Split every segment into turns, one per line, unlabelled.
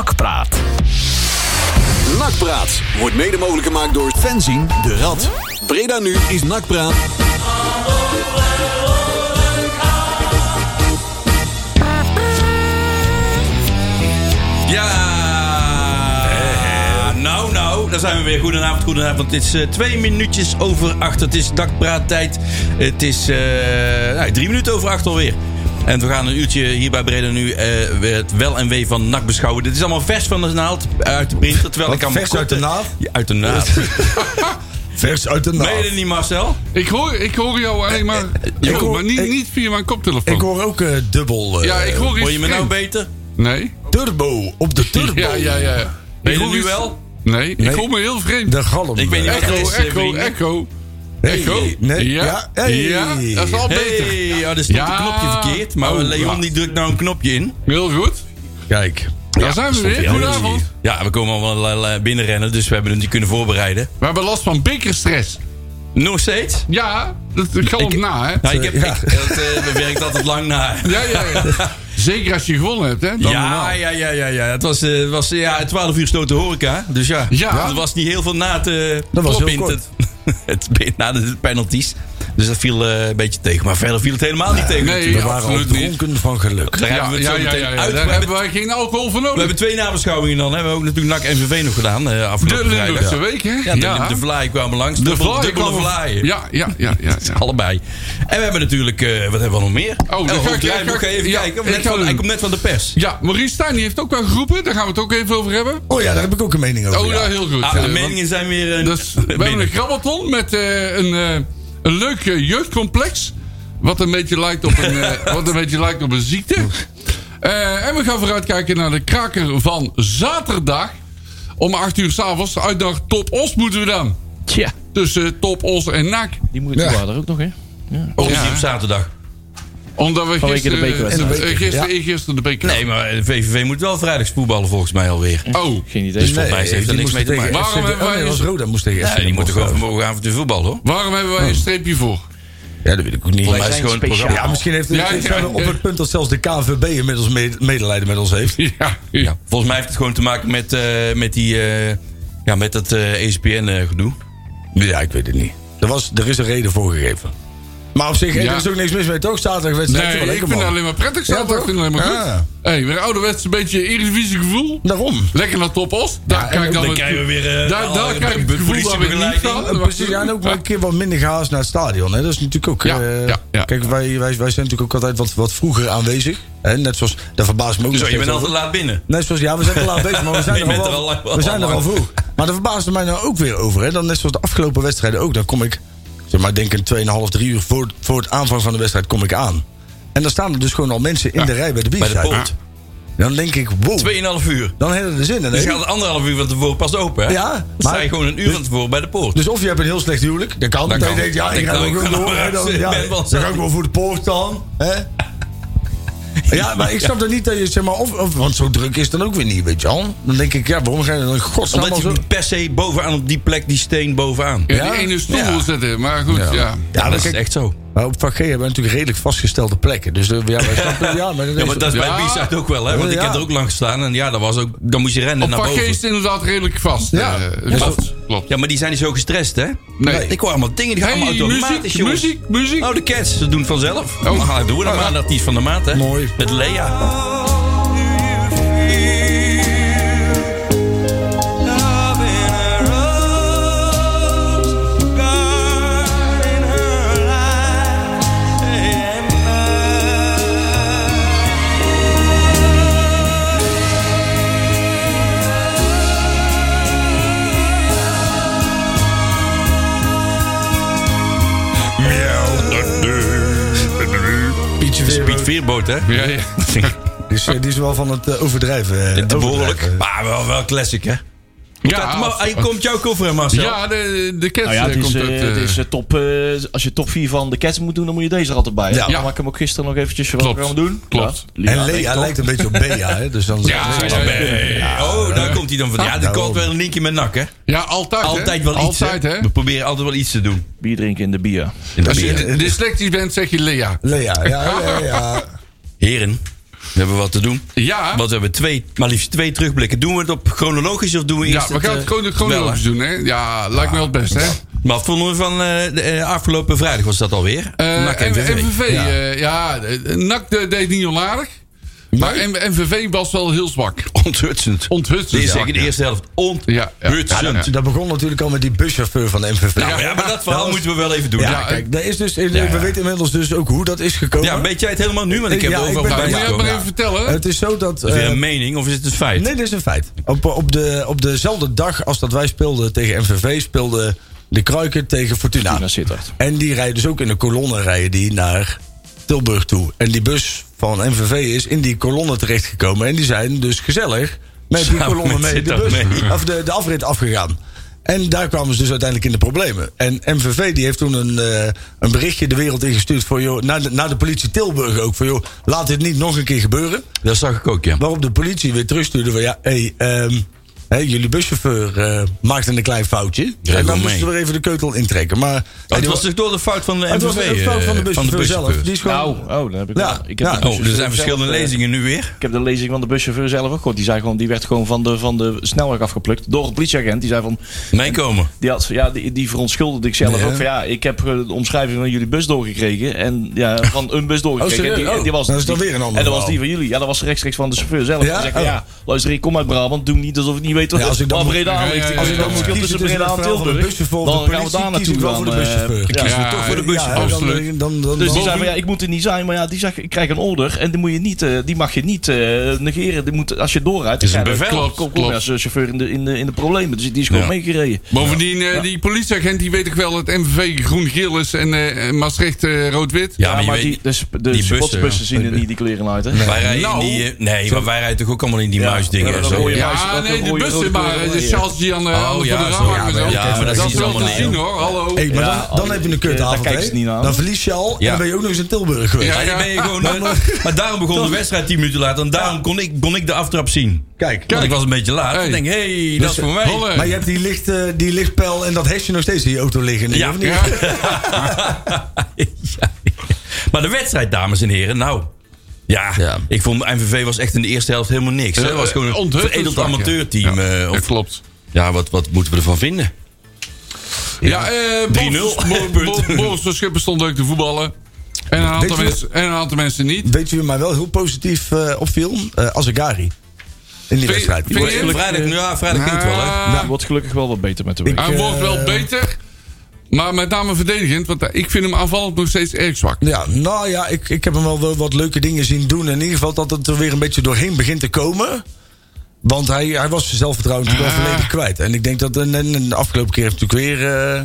Nakpraat.
Nakpraat wordt mede mogelijk gemaakt door Fenzin de Rad. Breda nu is Nakpraat.
Ja! Nou, nou, daar zijn we weer. Goedenavond, goedenavond. Het is eh, twee minuutjes over acht. Het is dakpraattijd. Het is eh, nou, drie minuten over acht alweer. En we gaan een uurtje hier bij Breda nu eh, weer het wel en wee van NAC beschouwen. Dit is allemaal vers van de naald eh, uit de printer. Terwijl
Wat,
ik aan mijn
vers uit de
korte-
naald?
Ja, uit de naald.
Vers uit de naald.
Meen je dat niet, Marcel?
Ik hoor, ik hoor jou alleen maar.
Eh, ik
goed,
hoor-
maar niet,
ik-
niet via mijn koptelefoon.
Ik hoor ook eh, dubbel. eh,
ja, ik hoor iets.
Hoor je me nou
vreemds.
beter?
Nee.
nou? Turbo. Op de turbo.
Ja, ja, ja.
Ben je
Ik
er
hoor
nu
iets-
wel?
Nee, ik
Nee.
hoor me heel vreemd.
De galm.
Ik weet niet wat er
Echo,
is, eh,
echo,
vrienden.
echo.
Hey,
Echo.
nee,
Ja.
ja, hey.
Ja, dat is al beter.
Hey, ja, er stond
Ja.
een knopje verkeerd. Maar
Oh,
Leon
ja.
die drukt nou een knopje in.
Heel goed.
Kijk.
Daar zijn we weer. Goedenavond.
Ja, we komen allemaal eh, binnenrennen, dus we hebben het niet kunnen voorbereiden.
We hebben last van bekerstress.
Nog steeds?
Ja, dat dat galmt
Ik-
na, hè?
Nou, ik heb,
Ja.
ik, dat eh, werkt altijd lang na.
Ja, ja, ja. Zeker als je gewonnen hebt, hè? Dan
Ja,
wel.
ja, ja, ja, ja. Het was, eh, was eh, ja, 12 uur stoot de horeca. Dus ja,
Ja.
er was niet heel veel na te
Dat was heel
opinten. het, na de penalties. Dus dat viel eh, een beetje tegen. Maar verder viel het helemaal niet tegen.
Nee,
We
natuurlijk.
waren al
absoluut niet.
dronken van geluk.
Daar hebben we het zo meteen uit. We
Daar
hebben,
hebben wij geen alcohol voor
we
nodig.
hebben twee nabeschouwingen dan. Hè. We hebben ook natuurlijk NAC MVV nog gedaan eh
De
afgelopen vrijdag.
Limburgse week, hè?
Ja, de, de Vlaai kwamen langs. De
Vlaai
Dubbele
kwam-
Vlaai.
Ja, ja, ja, ja. ja.
Allebei. En we hebben natuurlijk, eh, wat hebben we nog meer? Eh,
dan
Elro
ga ik-
Draaiboek,
ga ik-
even
ja,
kijken.
ik
Net
ga
van,
doen.
hij komt net van de pers.
Ja, Maurice Stijn die heeft ook wel geroepen. Daar gaan we het ook even over hebben.
Oh ja, daar heb ik ook een mening over.
Oh,
ja.
ja, heel goed.
Ah,
Eh,
de
want-
meningen zijn weer... eh,
Dus we hebben een
binnen.
grabbelton met eh, een, eh, een leuk eh, jeugdcomplex. Wat een beetje lijkt op een, eh, wat een, beetje lijkt op een ziekte. Eh, en we gaan vooruitkijken naar de kraker van zaterdag. Om 8 uur s'avonds. Uitdag Top Os moeten we dan.
Tja,
Tussen eh, Top Os en NAC.
die moet ja. er ook nog, hè?
Of is die
Ja.
op zaterdag?
Omdat we
Vanwege de
gisteren...
bekerwedstrijd.
eh, gisteren,
Ja.
eergisteren de beker.
Nee, maar eh, de VVV moet wel vrijdags voetballen volgens mij alweer.
Oh,
Geen
Dus-
idee.
volgens mij heeft er
die
niks
moest
mee te
tegen
maken.
FC
Waarom hebben
Oh,
wij
nee, dat
eens-
was Roda moest tegen
Ja,
FC
die moeten gewoon
Moskou.
vanmorgen avond weer voetballen, hoor.
waarom hebben wij een streepje voor?
Ja, dat weet ik ook niet.
Volgens mij is het gewoon het
speciaal.
programma.
Ja, Ah, misschien heeft het
Ja,
het is
ja,
gewoon op
ja.
het punt dat zelfs de KNVB inmiddels med- medelijden met ons heeft.
Ja,
Ja, volgens mij heeft het gewoon te maken met, eh, met, die, eh, ja, met dat eh, E ESPN-gedoe.
Ja, ik weet het niet. Er, was, er is een reden voor gegeven. Maar op zich,
Ja.
er is ook niks mis mee, toch? Zaterdagwedstrijd.
Nee,
toch wel
ik
lekker,
vind
man.
het alleen maar prettig. Zaterdag
toch?
vind ik alleen maar goed.
Ja.
Hey, weer ouderwets een beetje Eredivisie gevoel.
Daarom.
Lekker naar Top Os. Daar
en
kijk ik dan,
Dan
het-
krijgen we weer... eh,
daar, daar
alle-
krijg ik
be-
het gevoel dat we niet eh,
politiebegeleiding.
staan.
Ja, precies, ja, en Eh, ook maar een keer wat minder gehaast naar het stadion. Hè. Dat is natuurlijk ook.
Ja,
eh,
ja, ja.
Kijk, wij, wij, wij zijn natuurlijk ook altijd wat, wat vroeger aanwezig. Hè. Net zoals. Daar verbaast me ook nog
Zo, je
steeds
bent
over.
altijd laat binnen.
Net zoals, ja, we zijn wel laat bezig, maar we zijn
Je
er al,
bent er
wel-
al lang-
we zijn er
al
al
lang.
vroeg. Maar dat verbaasde mij nou ook weer over. Hè. Dan net zoals de afgelopen wedstrijden ook. Dan kom ik, zeg maar, denk een 2,5, 3 uur voor, voor het aanvang van de wedstrijd kom ik aan. En dan staan er dus gewoon al mensen in de rij bij de
Bij de
bierzaak.
poort.
Dan denk ik, wow,
Tweeënhalf uur.
dan hebben we er zin in.
Dus
hè?
je gaat anderhalf uur van tevoren pas open, hè?
Ja,
Dan
maar-
sta je gewoon een uur van tevoren bij de poort.
Dus of je hebt een heel slecht huwelijk, dat kan.
Dat
Dat
kan.
je denkt,
Dat
ja, ik
kan
ga
ook.
ook wel door. hè, Dan,
Ik
ja,
ben wel
dan
zelf.
ga ik wel voor de poort staan. Hè? Ja, maar ik snap dat niet dat je zeg maar, of, of- want zo druk is het dan ook weer niet, weet je wel. Dan denk ik, ja, waarom ga je dan in godsnaam
Omdat
al
je
zo...
moet per se bovenaan op die plek, die steen bovenaan.
Ja,
Ja.
die ene stoel
Ja.
zetten. Maar goed, ja. ja.
Ja, dat is
kijk,
echt zo.
Maar op Vak G hebben we natuurlijk redelijk vastgestelde plekken. Dus eh, ja, wij snappen, ja, maar,
Ja, maar dat is bij
Ja.
B-side ook wel, hè? Want ik
Ja.
heb er ook lang gestaan en ja, dat was ook, dan moest je rennen
Op
naar
Paké is
boven.
het inderdaad redelijk vast.
Ja.
Eh,
Ja,
klopt.
zo-
klopt.
Ja, maar die zijn niet zo gestrest, hè?
Nee.
Ik hoor allemaal dingen die gaan
Hey,
allemaal automatisch,
muziek,
jongens.
muziek, muziek.
Oh, de cats, ze doen het vanzelf.
Oh.
Oh, doen we dan maar, dat is van de maat, hè?
Mooi.
Met Lea.
Pietje
Piet Veerboot, hè?
Ja, ja.
Dus eh, die is wel van het eh, overdrijven. eh,
Behoorlijk.
overdrijven.
Maar wel, wel classic, hè?
Ja,
Maar Hij komt jouw koffer, hè, Marcel?
ja, de, de cats
Nou ja,
eh,
het is,
komt
eh,
uit... eh,
het is eh, top, eh, als je top 4 van de Cats moet doen, dan moet je deze er altijd bij. Ja.
Ja.
Dan maak ik hem ook gisteren nog eventjes wat
Klopt.
we gaan doen.
Klopt.
Ja, Lea,
En
denk ik
Lea
toch.
lijkt een beetje op Bea, hè? Dus dan
Ja, ja, ja, ja.
Oh, daar komt hij dan van. Ja, dit
daarom.
komt wel een linkje met nak, hè?
Ja, altijd, hè?
Altijd wel iets.
Ah. Altijd, hè?
We proberen altijd wel iets te doen.
Bier drinken in de bier.
Als je dyslectisch bent, zeg je Lea.
Lea, ja, ja, ja.
Heren, We hebben wat te doen.
Ja,
Want we hebben twee, maar liefst twee terugblikken. Doen we het op chronologisch of doen we
ja
eerst
we gaan
eh,
het gewoon chronologisch doen, hè? Ja, lijkt me wel het best, hè?
Maar wat vonden we van eh, de eh, afgelopen vrijdag was dat alweer?
Eh,
NAC
M-
MVV.
MVV,
Ja.
eh, ja, eh, NAC de- deed niet onaardig. Maar M- MVV was wel heel zwak.
Onthutsend.
Onthutsend.
Die
zwak,
zeggen de
ja.
eerste helft
Ja, ja.
onthutsend.
Ja, ja.
Dus Dat begon natuurlijk al met die buschauffeur van de MVV.
Nou ja, maar dat verhaal
was-
moeten we wel even doen.
Ja,
Ja,
kijk, daar is dus,
Ja.
we weten inmiddels dus ook hoe dat is gekomen.
ja, weet jij het helemaal nu? Want ik heb
Ja,
er
ik
overal
ben-
bij
Nou, Moet
Ja,
je het
gekomen.
maar
Is
even vertellen?
Het is zo dat...
het weer
eh,
een mening of is het een feit?
Nee, dit is een feit. Op, op, de, op dezelfde dag als dat wij speelden tegen MVV, speelde de Kruiken tegen Fortuna.
Fortuna Sittard.
En die rijden dus ook in de kolonne rijden die naar Tilburg toe. En die bus van MVV is in die kolonne terechtgekomen. En die zijn dus gezellig met die
Samen
kolonne
met
mee, de,
Sittard
bus,
mee.
Of de, de afrit afgegaan. En daar kwamen ze dus uiteindelijk in de problemen. En MVV die heeft toen een, eh, een berichtje de wereld ingestuurd voor joh, naar, de, naar de politie Tilburg ook. Voor joh, laat dit niet nog een keer gebeuren.
Dat zag ik ook, ja. Oh,
Waarop de politie weer terugstuurde van ja, hey, ehm, hè, jullie buschauffeur eh, maakte een klein foutje.
Regel
en dan
mee.
moesten we weer even de keutel intrekken. Maar
Oh,
hey,
het
die
was dus door de fout van de
het was
MVV,
een fout van de
eh,
buschauffeur zelf. Die is gewoon,
Nou, oh, dan heb ik
Ja,
ik heb
ja.
de
Oh, er
buschauffeur
zijn
zelf,
verschillende
eh,
lezingen nu weer.
Ik heb de lezing van de buschauffeur zelf ook gehoord. Die, zei gewoon, die werd gewoon van de, van de snelweg afgeplukt door een politieagent. Die zei van,
Meekomen.
Die, had, ja, die, die verontschuldigde ik zelf
Ja.
ook. Van, ja, ik heb eh, de omschrijving van jullie bus doorgekregen. En ja, van een bus doorgekregen.
Oh, serieus?
En die, en die was,
Oh, dat is dan
die-
weer een ander
En dat was
verhaal.
die van jullie. Ja, dat was rechtstreeks van de chauffeur zelf.
Ja?
Ja? Zegt, van,
Oh.
ja, luister, ik kom uit Brabant. Doe niet alsof ik niet weet wat
Ja, als ik dan
waar
moet-
Breda
ja,
ligt.
ja, ja,
Als ik
ja,
dan
ja.
moet kiezen tussen
Kiezen
Breda en
tussen het verhaal van de
Tilburg,
buschauffeur of
dan
de
gaan we
politie,
daar
kies
naartoe.
ik wel
dan,
voor de
eh,
buschauffeur.
ja.
Ja,
toch voor de bus.
ja, dan-
absoluut.
Dan, dan,
Dus die
dan-
zei van ja, ik moet er niet zijn, maar ja, die zegt, ik krijg een order en die, moet je niet, eh, die mag je niet eh, negeren. Die moet, als je doorrijdt, dan
is een
krijg je-
bevel.
kom- kom- kom
Klopt.
je als eh, chauffeur in de, in, de, in de problemen. Dus die is gewoon
Ja.
meegereden.
Bovendien, eh, die politieagent die weet ik wel dat MVV groen-geel is en eh, Maastricht eh, rood-wit.
Ja, maar
Ja,
je
maar
weet...
die, de, sp- de
die
sportsbussen
bussen,
zien er niet die kleren uit, hè?
wij rijden
Nou.
in die, eh, nee, maar wij rijden toch ook allemaal in die muisdingen
Ja,
en
dat
zo.
hoor je
Ja.
Ja,
Buis, dat
nee, de
rode-
bussen
rode
maar. eh,
kleuren,
De
ja.
Charles die aan de
Oh,
van de
ja, zo.
raam hangen
Ja,
zo.
maar ja, maar dat
dat
zie
is
je
wel te
allemaal
zien
niet,
hoor, hallo.
Hey, maar
Ja,
dan, dan heb je een
daar
kutavond.
kijken ze
hè.
niet naar.
Dan verlies je al en
Ja.
dan ben je ook nog eens in Tilburg geweest.
Ja.
Ja, die ben je gewoon, eh, maar daarom begon de wedstrijd 10 minuten later. En daarom kon ik, kon ik de aftrap zien.
Kijk,
Want ik was een beetje laat.
Hey. Dus
Ik denk, hé, dat is voor mij.
Holle.
maar je hebt die, licht, eh, die lichtpijl en dat hesje nog steeds in je auto liggen.
Ja.
of niet?
Ja,
Ja. Maar de wedstrijd, dames en heren, nou. Ja,
Ja.
ik vond MVV was echt in de eerste helft helemaal niks. hè. Het was gewoon
eh,
een
onthutsend
veredeld
zwak, ja.
amateurteam.
Ja,
eh,
dat
of-
klopt.
Ja, wat, wat moeten we ervan vinden?
Ja,
3-0.
eh Boris- Bo- Bo- Boris van Schippen stond leuk te voetballen. En een
Weet
aantal,
je-
mensen, en een aantal mensen niet.
Weet je wie mij wel heel positief eh, opviel? Eh Azegari. In die wedstrijd.
vind je- Eerlijk,
vrijdag, ja, vrijdag ging het wel, hè?
Ah,
Wordt gelukkig wel wat beter met de
Nou, Ik-
week.
hij wordt wel
eh,
beter. Maar met name verdedigend, want eh, ik vind hem aanvallend nog steeds erg zwak.
Ja, nou ja, ik, ik heb hem wel wat- wat leuke dingen zien doen. In ieder geval dat het er weer een beetje doorheen begint te komen. Want hij, hij was zijn zelfvertrouwen natuurlijk wel
Ah.
volledig kwijt. En ik denk dat en, en- en de afgelopen keer heeft hij natuurlijk weer eh,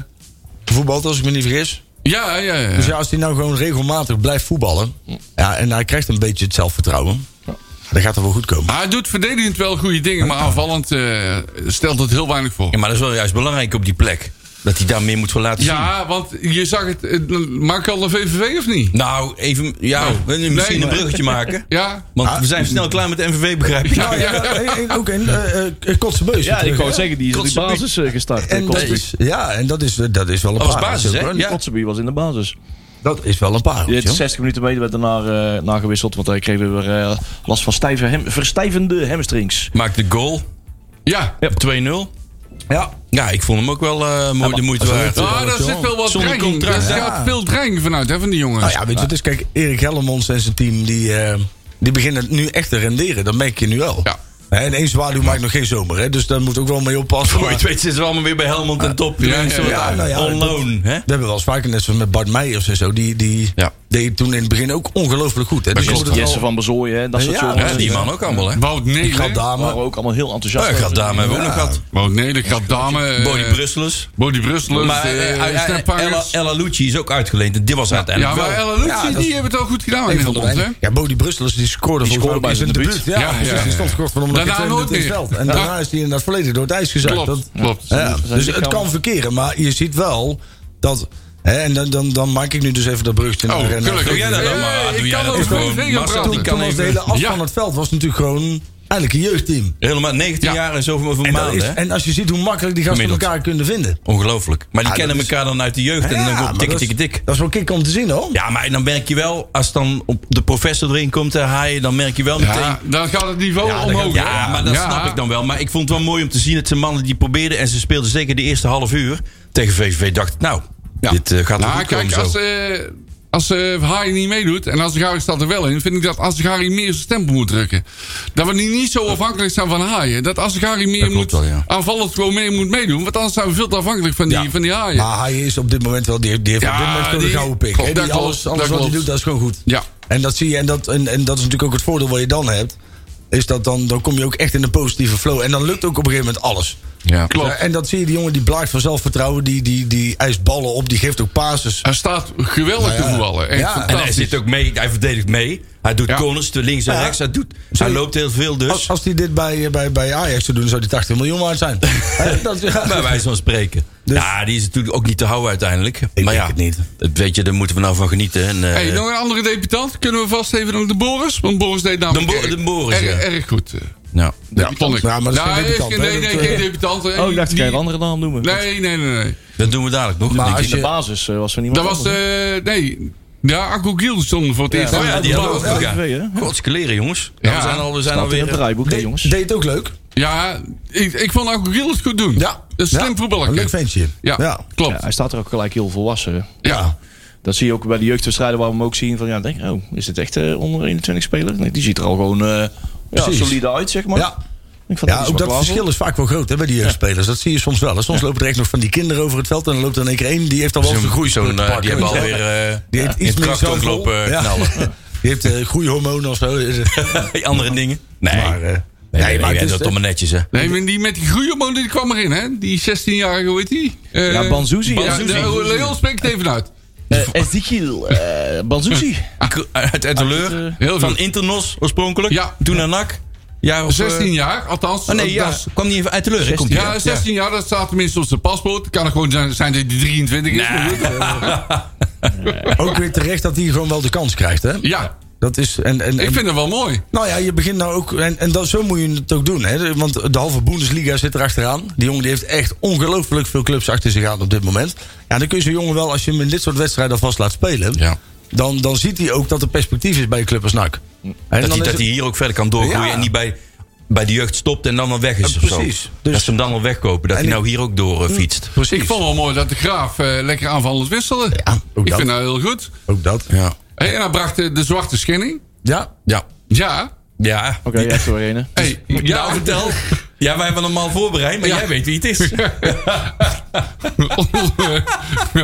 gevoetbald, als ik me niet vergis.
Ja, ja, ja.
Dus ja, als hij nou gewoon regelmatig blijft voetballen. Ja, en hij krijgt een beetje het zelfvertrouwen. Dan gaat het wel goed komen.
Maar hij doet verdedigend wel goede dingen, maar aanvallend eh, stelt het heel weinig voor.
Ja, maar dat is wel juist belangrijk op die plek. Dat hij daar meer moet voor laten zien.
Ja, want je zag het. eh, Maak al een VVV of niet?
Nou, even, ja,
Nee.
we-
Nee,
misschien
maar-
een bruggetje maken.
Ja.
Want we zijn snel klaar met de MVV, begrijp ik.
Ja, ja.
Hey, hey, ook in eh, eh, Kotzebeus.
Ja, ik
terug,
wou
hè?
het zeggen, die is op die
Kotzebuie.
basis eh, gestart.
En
En
dat is, ja, en dat is, dat is wel een
Dat was
paar.
basis, hè? Ja.
Kotzebue was in de basis.
Dat is wel een paar.
Die heeft 60 minuten mee, werd daarna eh, nagewisseld. Want hij kreeg weer eh, last van stijve hem, verstijvende hamstrings.
Maakt de goal.
Ja.
2-0.
Ja,
Ja, ik vond hem ook wel eh, mooi de moeite waard.
Ah, daar zit wel wat
Zonder
dreiging. Er
contract, hè?
gaat veel dreiging vanuit, hè, van die jongens.
Nou ja, weet je, het is kijk, Erik Hellemons en zijn team die, eh, die beginnen nu echt te renderen. Dat merk je nu wel.
Ja.
Hè, En één zwaluw maakt nog geen zomer, hè? dus daar moet ook wel mee oppassen.
Voor Oh, je
maar-
het weet zitten we allemaal weer bij Helmond en Top.
ja, ja,
ja, nou ja,
on
dat-
loan, hè?
we hebben wel eens vaker, net zoals met Bart Meijers en zo, die, die
Ja.
deed toen in het begin ook ongelooflijk goed. Hè? Dus je
klopt,
moet het
Jesse
wel-
van Bezooien en dat soort
Ja,
Ja,
jongens.
die man ook allemaal, hè?
Wout
Gaat
Nelen.
waren we
dame.
ook allemaal heel enthousiast.
Ja, gaat dame hebben we ook nog gehad.
Wout Nelen, Gadame. eh,
Body Brusselers.
Body Brusselers.
Maar eh,
eh,
eh, eh, Ella-
snaphangers.
Ella Lucci is ook uitgeleend. En Dit was
Ja,
uiteindelijk
maar
wel.
Ella Lucci,
Ja, dat
die
is-
hebben het wel goed gedaan Oh, in Nederland, hè?
Ja, Bodie Brusselers die scoorde volgens mij
scoorde
ook
bij
in zijn
zijn
debuut.
debuut.
Ja,
Ja,
precies,
ja,
die
ja.
stond kort van om
Daarna nooit
in het
meer.
veld. En
Ja.
daarna is hij inderdaad volledig door het ijs gezakt.
Klopt,
Dat-
klopt.
Ja,
Zijn
dus
die
het kan
kan-
verkeren, maar je ziet wel dat. Hè, en dan, dan, dan maak ik nu dus even dat bruggetje naar.
Oh,
naar-
gelukkig.
Doe jij dat
Hey,
dan maar.
ik
Doe jij
kan
dat
over
gewoon.
VVV gaan
Marcel,
praten.
die
Toen
kan
was de
even...
hele as
Ja.
van het veld was natuurlijk gewoon eigenlijk een jeugdteam.
Helemaal 19
Ja.
jaar en zoveel over
En, dat
maanden.
is-
hè?
en als je ziet hoe makkelijk die gasten
Gemiddeld.
elkaar kunnen vinden.
Ongelooflijk. Maar die
Ja,
kennen
Ah, dat is-
elkaar dan uit de jeugd en dan
maar
komt tik,
dat is-
tik, tik.
Dat is wel kick om te zien hoor.
Ja, maar dan merk je wel, als dan op de professor erin komt te haaien, dan merk je wel meteen.
Ja, dan gaat het niveau omhoog. hè?
Ja, maar dat snap ik dan wel. Maar ik vond het wel mooi om te zien dat ze mannen die probeerden. En ze speelden zeker de eerste half uur
Ah,
tegen VVV. Dacht ik, nou,
Ja.
dit eh, gaat er
Nou,
goed
kijk,
komen
als,
zo.
eh als eh, Harry niet meedoet en als Harry staat er wel in, vind ik dat als Harry meer zijn stempel moet drukken. Dat we niet, niet zo afhankelijk zijn van haaien. Dat als Harry meer
klopt
moet,
wel, ja.
aanvallend gewoon meer moet meedoen. Want anders zijn we veel te afhankelijk van die,
Ja.
van die haaien.
Maar hij is op dit moment wel die, die heeft
Ja,
op dit moment gewoon
die-
een gouden pik.
klopt,
hè.
dat
Die
klopt,
alles alles
dat
wat hij
klopt.
doet, dat is gewoon goed.
Ja.
En dat zie je, en dat, en, en dat is natuurlijk ook het voordeel wat je dan hebt. Is dat dan, dan kom je ook echt in een positieve flow. En dan lukt ook op een gegeven moment alles.
ja. Klopt.
Ja, en dat zie je, die jongen die blaakt van zelfvertrouwen, die, die, die eist ballen op, die geeft ook passes.
Hij staat geweldig
Nou ja.
te voetballen. Echt
Ja.
En hij
fantastisch.
zit ook mee, hij verdedigt mee. Hij doet
Ja.
corners, te links en
Ja.
rechts. Hij, doet, hij
Sorry.
loopt heel veel dus.
Als, als die dit bij, eh, bij, bij Ajax zou doen, zou die 80 miljoen waard zijn. Hè, dat, ja.
Bij wijze van spreken.
Dus-
ja, die is natuurlijk ook niet te houden uiteindelijk. maar
denk
ja,
het niet.
dat weet je, daar moeten we nou van genieten. En, eh,
Hey, nog een andere debutant. Kunnen we vast even nog de Boris? Want Boris deed namelijk
De Bo-
erg-
de Boris,
erg,
ja.
erg goed. eh.
nou,
Ja, vond ik.
Ja, maar dat is
Nou,
geen
hij is
debutant,
geen-
hè,
Nee,
dat,
nee, geen
eh,
debutant.
Oh, ik dacht, ik
Die-
kan je een andere naam noemen.
Nee, nee, nee. nee.
dat doen we dadelijk nog.
Maar
denk
als
ik.
In de
je-
basis eh, was er niemand
Dat was,
anders, hè?
eh nee. Ja, Arco Giel stond voor het eerst.
Oh ja, die hadden we ook
ja.
nog, ja.
Twee, hè?
Gods kleren, jongens. Nou,
Ja.
we zijn, al, we zijn
Staat in het
alweer...
draaiboek, hè,
Deed-
jongens?
Deed het ook leuk.
Ja, ik, ik vond Arco Giel het goed doen.
Ja.
Een slim
Ja,
voetballer.
Een leuk ventje.
Ja,
Ja.
klopt.
Ja, hij staat er ook gelijk heel volwassen. hè?
ja.
Dat zie je ook bij de jeugdwedstrijden waar we hem ook zien. Van, ja, denk, ik, oh, is dit echt eh, onder 21 speler? Nee, die ziet er al gewoon eh ja,
Precies.
solide uit, zeg maar.
Ja.
Ik vond
Ja, ook dat verschil is vaak wel groot hè, bij die jeugdspelers. Dat zie je soms wel. hè. Soms lopen er echt nog van die kinderen over het veld. En dan loopt er in één keer één. Die heeft al wel
Zo'n
zijn
zo'n,
groeizoon.
eh, die hebben alweer eh
Die heeft
in
iets
het
meer zoveel.
krachtonk lopen eh,
Ja.
knallen.
Die heeft eh groeihormonen of zo. is het.
Andere dingen. Nee,
Maar, eh,
nee,
nee,
nee,
maar
nee,
het is-
dat allemaal netjes, hè.
Nee, maar die met die groeihormoon die kwam erin, hè? Die 16-jarige, hoe heet die? Eh,
Ja, Banzuzi,
Ja,
Banzuzi.
de- Leon spreekt het even uit.
Ezekiel eh Banzuzi.
Ak- Uit Etteleur.
eh,
heel
van
goed.
Internos oorspronkelijk.
Ja.
Toen naar NAC. Ja, of, eh,
16 jaar, althans.
Oh nee,
dat
ja,
is-
kwam niet even uit de leur. Komt
Ja, 16 jaar, dat staat tenminste op zijn paspoort. Kan er gewoon zijn, zijn dat hij 23 is. maar goed.
Ook weer terecht dat hij gewoon wel de kans krijgt. Hè?
Ja,
Dat is, en, en,
ik vind dat wel mooi.
Nou ja, je begint nou ook. En, en dat, zo moet je het ook doen. Hè? Want de halve Bundesliga zit er achteraan. Die jongen die heeft echt ongelooflijk veel clubs achter zich aan op dit moment. Ja, dan kun je zo'n jongen wel, als je hem in dit soort wedstrijden alvast laat spelen.
Ja.
Dan, dan ziet hij ook dat er perspectief is bij een club als NAC. En dan
Mm. Dat,
is
hij, dat
het-
hij hier ook verder kan doorgroeien.
Ja.
En niet bij, bij de jeugd stopt en dan al weg is.
Eh,
of zo.
precies. Dus-
dat ze hem dan al wegkopen. Dat hij
ik-
nou hier ook door eh, fietst.
Precies.
Ik vond wel mooi dat de Graaf eh, lekker aanvallend wisselde.
Ja, ook
ik
dat.
vind dat heel goed.
Ook dat.
Ja.
Hey, en hij bracht eh, de zwarte schenning.
Ja.
Ja.
Ja.
Ja.
Oké, jij hebt er weer een. hè?
Hey,
Ja,
ja,
vertel. Ja, wij hebben hem al voorbereid, maar
Nou, Ja.
jij weet wie het is.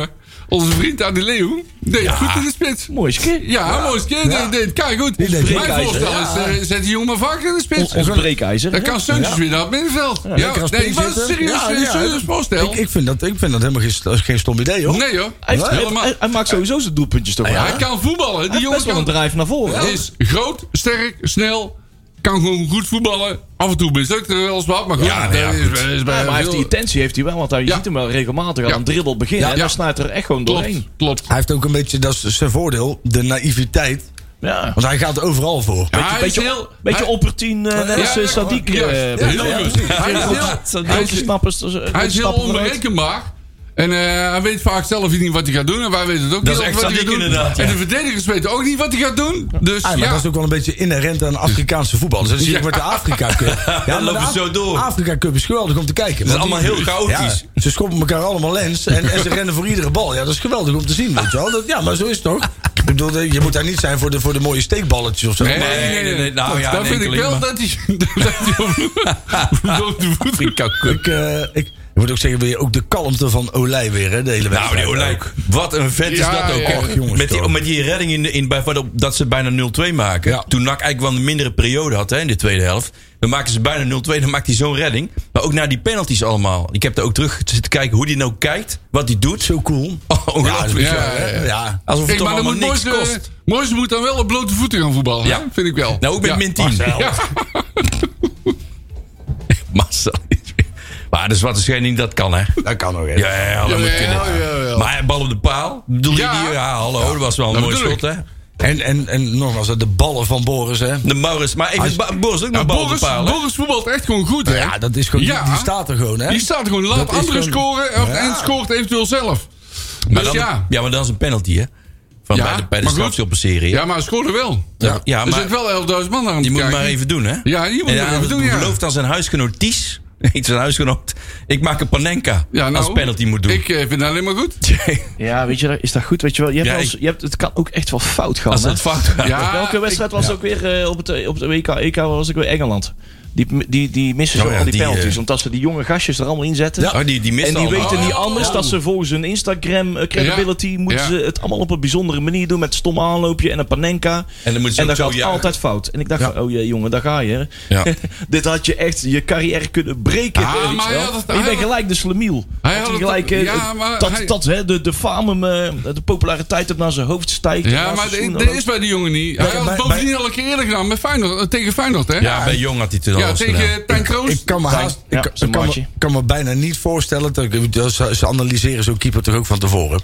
Onze vriend aan de Leeuw deed het goed in de spits.
Mooi is een keer.
Ja, mooi. Deed, deed, deed, kijk goed.
Die deed
Mijn
het.
voorstel is, eh, zet die jongen maar vaak in de spits.
Ons, ons breekijzer.
Dan
hè?
kan Seuntjes weer naar het middenveld. Ja,
lekker als
nee,
spits
maar het is
zitten.
serieus,
Ja,
serieus,
ja.
serieus voorstel.
Ik, ik, vind dat, ik vind dat helemaal geen, st- geen stom idee, hoor.
nee hoor.
Hij, heeft-
Helemaal.
hij, hij maakt sowieso zijn doelpuntjes toch wel.
Ah, Hij kan voetballen.
Die
Die jongen
jongens wel een
kan
drijf naar voren. hè?
is groot, sterk, snel. Kan gewoon goed voetballen. Af en toe mislukt er wel eens wat, maar goed.
Ja, nee, ja,
dat is-
goed.
dat is bij
Ja, maar hij
veel-
heeft die intentie heeft hij wel, want hij
Ja.
ziet hem wel regelmatig
Ja.
aan een dribbel beginnen.
Ja.
En dan
Ja.
snijdt er echt gewoon
Klopt,
doorheen.
klopt.
Hij heeft ook een beetje, dat is zijn voordeel, de naïviteit.
Ja.
Want hij gaat overal voor.
Ja, hij is
beetje,
heel-
beetje
hij-
opportun, eh, net als
ja,
eh, Sadiq.
juist.
eh,
Ja,
bij-
heel
ja,
goed.
precies.
Hij is
Ja,
heel-
dat- dat-
hij
dat
is-
snappers, dat- dat
Hij is heel
snappen eruit.
onberekenbaar. En eh, hij weet vaak zelf niet wat hij gaat doen. En wij weten het ook
Dat is
niet
echt
wat hij
Sadiq
gaat doen.
inderdaad,
En
ja.
de verdedigers weten ook niet wat hij gaat doen. Dus
Ah,
ja,
maar dat is ook wel een beetje inherent aan Afrikaanse voetbal. Dus dat zie je ook met de Afrika Cup. Ja, maar
lopen
de Af-
zo door.
Afrika Cup is geweldig om te kijken.
Dat is
want die-
allemaal heel chaotisch.
Ja, ze schoppen elkaar allemaal lens en, en ze rennen voor iedere bal. Ja, dat is geweldig om te zien, weet je wel. Dat, ja, maar zo is het toch? Ik bedoel, eh, je moet daar niet zijn voor de, voor de mooie steekballetjes of zo.
Nee,
Maar-
nee, nee. nee,
nee, nou ja,
dat
een
vind ik
enkeling,
wel
maar-
dat hij, dat hij op, op de voeten
Ik, eh, ik, ik moet ook zeggen, weer ook de kalmte van Olij weer, hè, de hele
Nou,
wedstrijd.
die Olij. Wat een vet is
Ja,
dat ook.
ja,
hoor.
ja. Jongens,
met, die,
toch.
met die redding in, de- in, bij, waarop- dat ze bijna 0-2 maken.
Ja.
Toen NAC eigenlijk wel een mindere periode had hè, in de tweede helft. Dan maken ze bijna 0-2. Dan maakt hij zo'n redding. Maar ook naar die penalties allemaal. Ik heb daar ook terug zitten kijken hoe die nou kijkt. Wat hij doet.
Zo cool.
Oh, ongelooflijk.
Ja,
Hè?
ja, ja.
ja.
Alsof het
Ik, maar
allemaal
dan moet
niks
Moyes, eh,
kost.
Moyes moet dan wel op blote voeten gaan voetballen.
Ja.
hè? Vind ik wel.
Nou, ook met
Ja.
min 10.
Ja.
Marcel. Maar de zwarte schening, dat kan hè.
Dat kan nog, hè.
Ja, ja, ja, dat moet
Jawel,
kunnen.
jawel.
Maar bal op de paal. Bedoel je
Oh. Ja.
die? Ja, hallo. Dat was wel een
Dat
mooi
bedoel
schot
ik.
hè.
En, en, en nogmaals, de ballen van Boris, hè.
De Maurits. Maar even,
Als-
Ba- Boris ook
Ja,
nog bal
Boris,
bepalen. Nou
Boris voetbalt echt gewoon goed, hè?
Ja, Ah, dat is gewoon,
Ja.
Die, die staat er gewoon, hè.
Die staat gewoon, laat
Dat is
anderen
gewoon-
scoren of,
Ja.
en scoort eventueel zelf.
Maar
dus
dan-
ja.
ja, maar dat is een penalty, hè? Van
Ja,
bij de, bij de
maar goed.
strafschoppenserie.
Ja, maar hij scoorde wel.
Ja, ja,
er
maar-
zit wel 11.000 man aan het
Je moet het
kijken.
maar even doen, hè?
Ja, je moet het
en
maar even doen,
hij
ja.
belooft aan zijn huisgenoot Ties. Nee, zijn huisgenoot. Ik maak een panenka
Ja, nou,
als penalty moet doen.
Ik eh, vind dat alleen maar goed.
Ja, weet je, dat- is dat goed? Weet je wel, je hebt
Ja,
wel eens-
ik-
je hebt, het kan ook echt wel fout gaan.
als
hè?
dat fout gaat.
Ja,
Welke wedstrijd was ook weer eh, op, het, eh, op de WK, EK was ook weer Engeland? Die, die, die missen
Oh
zo
ja,
al die,
die,
penalties,
eh,
omdat ze die jonge gastjes er allemaal in zetten.
Oh, die, die mist
En die
allemaal.
weten niet
Oh.
anders dat ze volgens hun Instagram eh, credibility
Ja.
moeten
Ja.
ze het allemaal op een bijzondere manier doen met stom aanloopje en een panenka.
En dan moeten ze
en
ook
dat
zo
gaat
juichen.
altijd fout. En ik dacht,
Ja.
van, oh jee, jongen, daar ga je. hè.
Ja.
Dit had je echt je carrière kunnen breken.
Ah,
weet
maar
je
hij
wel.
had het-
Maar je
hij
bent
had-
gelijk de slemiel.
Hij
Dat
had
hij
het-
gelijk, eh,
ja, maar
dat,
hij-
dat hè, de, de faam hem, eh, de populariteit op naar zijn hoofd stijgt. en
Ja,
naar
maar
zijn schoenen
dit dit
loopt.
is bij die jongen niet. Hij had het
bij-
bovendien al een keer eerder gedaan met Feyenoord, eh, tegen Feyenoord, hè?
Ja, bij Jong had hij het al
Ja,
eens gedaan.
tegen Tijn Kroos.
Ik kan me haast,
Ja,
ik, kan-
zijn
ik kan, me,
maatje.
kan me bijna niet voorstellen. Dat, ik- dat ze, ze analyseren zo'n keeper toch ook van tevoren.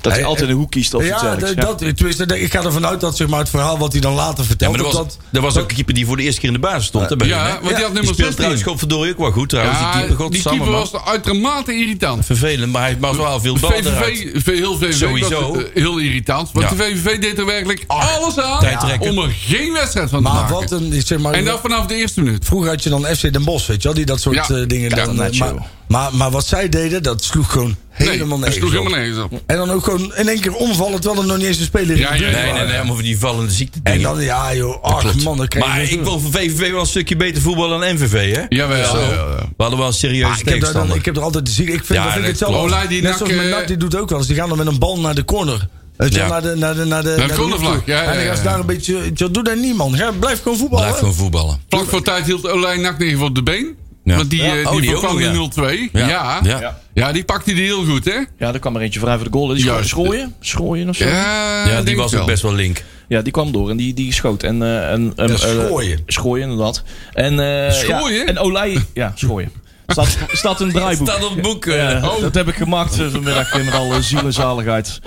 Dat hij
Hij-
altijd een hoek kiest of iets
ja,
dergelijks.
dat,
Ja.
dat, tenminste, dat- ik ga ervan uit dat zeg maar, het verhaal wat hij dan later
Ja,
vertelt.
maar dat was,
dat,
dat was ook een keeper die voor de eerste keer in de basis stond. hè, bij
Ja,
hun, hè?
want die had nummer
Die speelt
16.
trouwens godverdorie ook wel goed trouwens.
Ja,
die keeper,
die
godsamme,
keeper
man.
was uitermate irritant.
vervelend, maar hij maakt wel veel bal eruit.
VVV, veel- heel VVV
Sowieso.
was, eh, heel irritant. Want
Ja. Ah,
de VVV deed er werkelijk alles aan
tijdrekken.
om er geen wedstrijd van te
maar
maken.
wat een. Zeg maar,
En dat vanaf de eerste minuut.
Vroeger had je dan FC Den Bosch, weet je wel, die dat soort
Ja,
eh, dingen.
ja,
dan, eh,
dat
maar,
joh.
maar, maar wat zij deden, dat sloeg gewoon helemaal
nee, dat
nergens
sloeg
op.
helemaal nergens op.
En dan ook gewoon in één keer omvallen, terwijl er nog niet eens een speler
Ja,
in de
ja,
Nee,
buurt was.
nee, nee, helemaal van die vallende ziekte.
En dan, ja joh, ach man, dan krijg je...
Maar ik wil voor VVV wel een stukje beter voetballen dan NVV, hè?
Jawel.
Zo.
Ja, ja, ja.
We hadden wel een serieuze
Ah, ik, heb daar
tegenstander.
dan, ik heb er altijd de ziek. Ik vind,
Ja,
dat vind ik
dat
hetzelfde.
klopt. Olij die
Net
nak,
zoals mijn
eh,
nak, die doet ook wel eens. Die gaan dan met een bal naar de corner. Weet je,
Ja.
naar de, naar de, naar de,
de cornervlag, ja,
En dan
ja,
gaan ze
ja.
daar een beetje... zo, doe daar niemand. Ja, blijf gewoon voetballen.
Blijf gewoon voetballen.
Vlak voor tijd hield Olij Naknegen op de been.
Ja.
Want die, eh,
Ja.
die,
Oh, die ook
voorkwam
nog, ja.
in 0-2. Ja.
Ja.
Ja.
Ja.
die pakte die heel goed, hè?
Ja, er kwam er eentje vrij voor de goal. hè. Die
Juist.
schrooien. Schrooien of zo. Ja.
Ja,
Ja,
denk
die
ik
was ook best wel link.
die kwam door en die, die schoot. En, eh en, en, eh,
Schrooien.
Schrooien, inderdaad. En, eh,
Schrooien?
Ja, en Olij. Ja, Schrooien. Staat, staat in het draaiboek.
Staat op het boek. eh.
Ja,
Oh.
Dat heb ik gemaakt eh, vanmiddag eh, met alle ziel en zaligheid.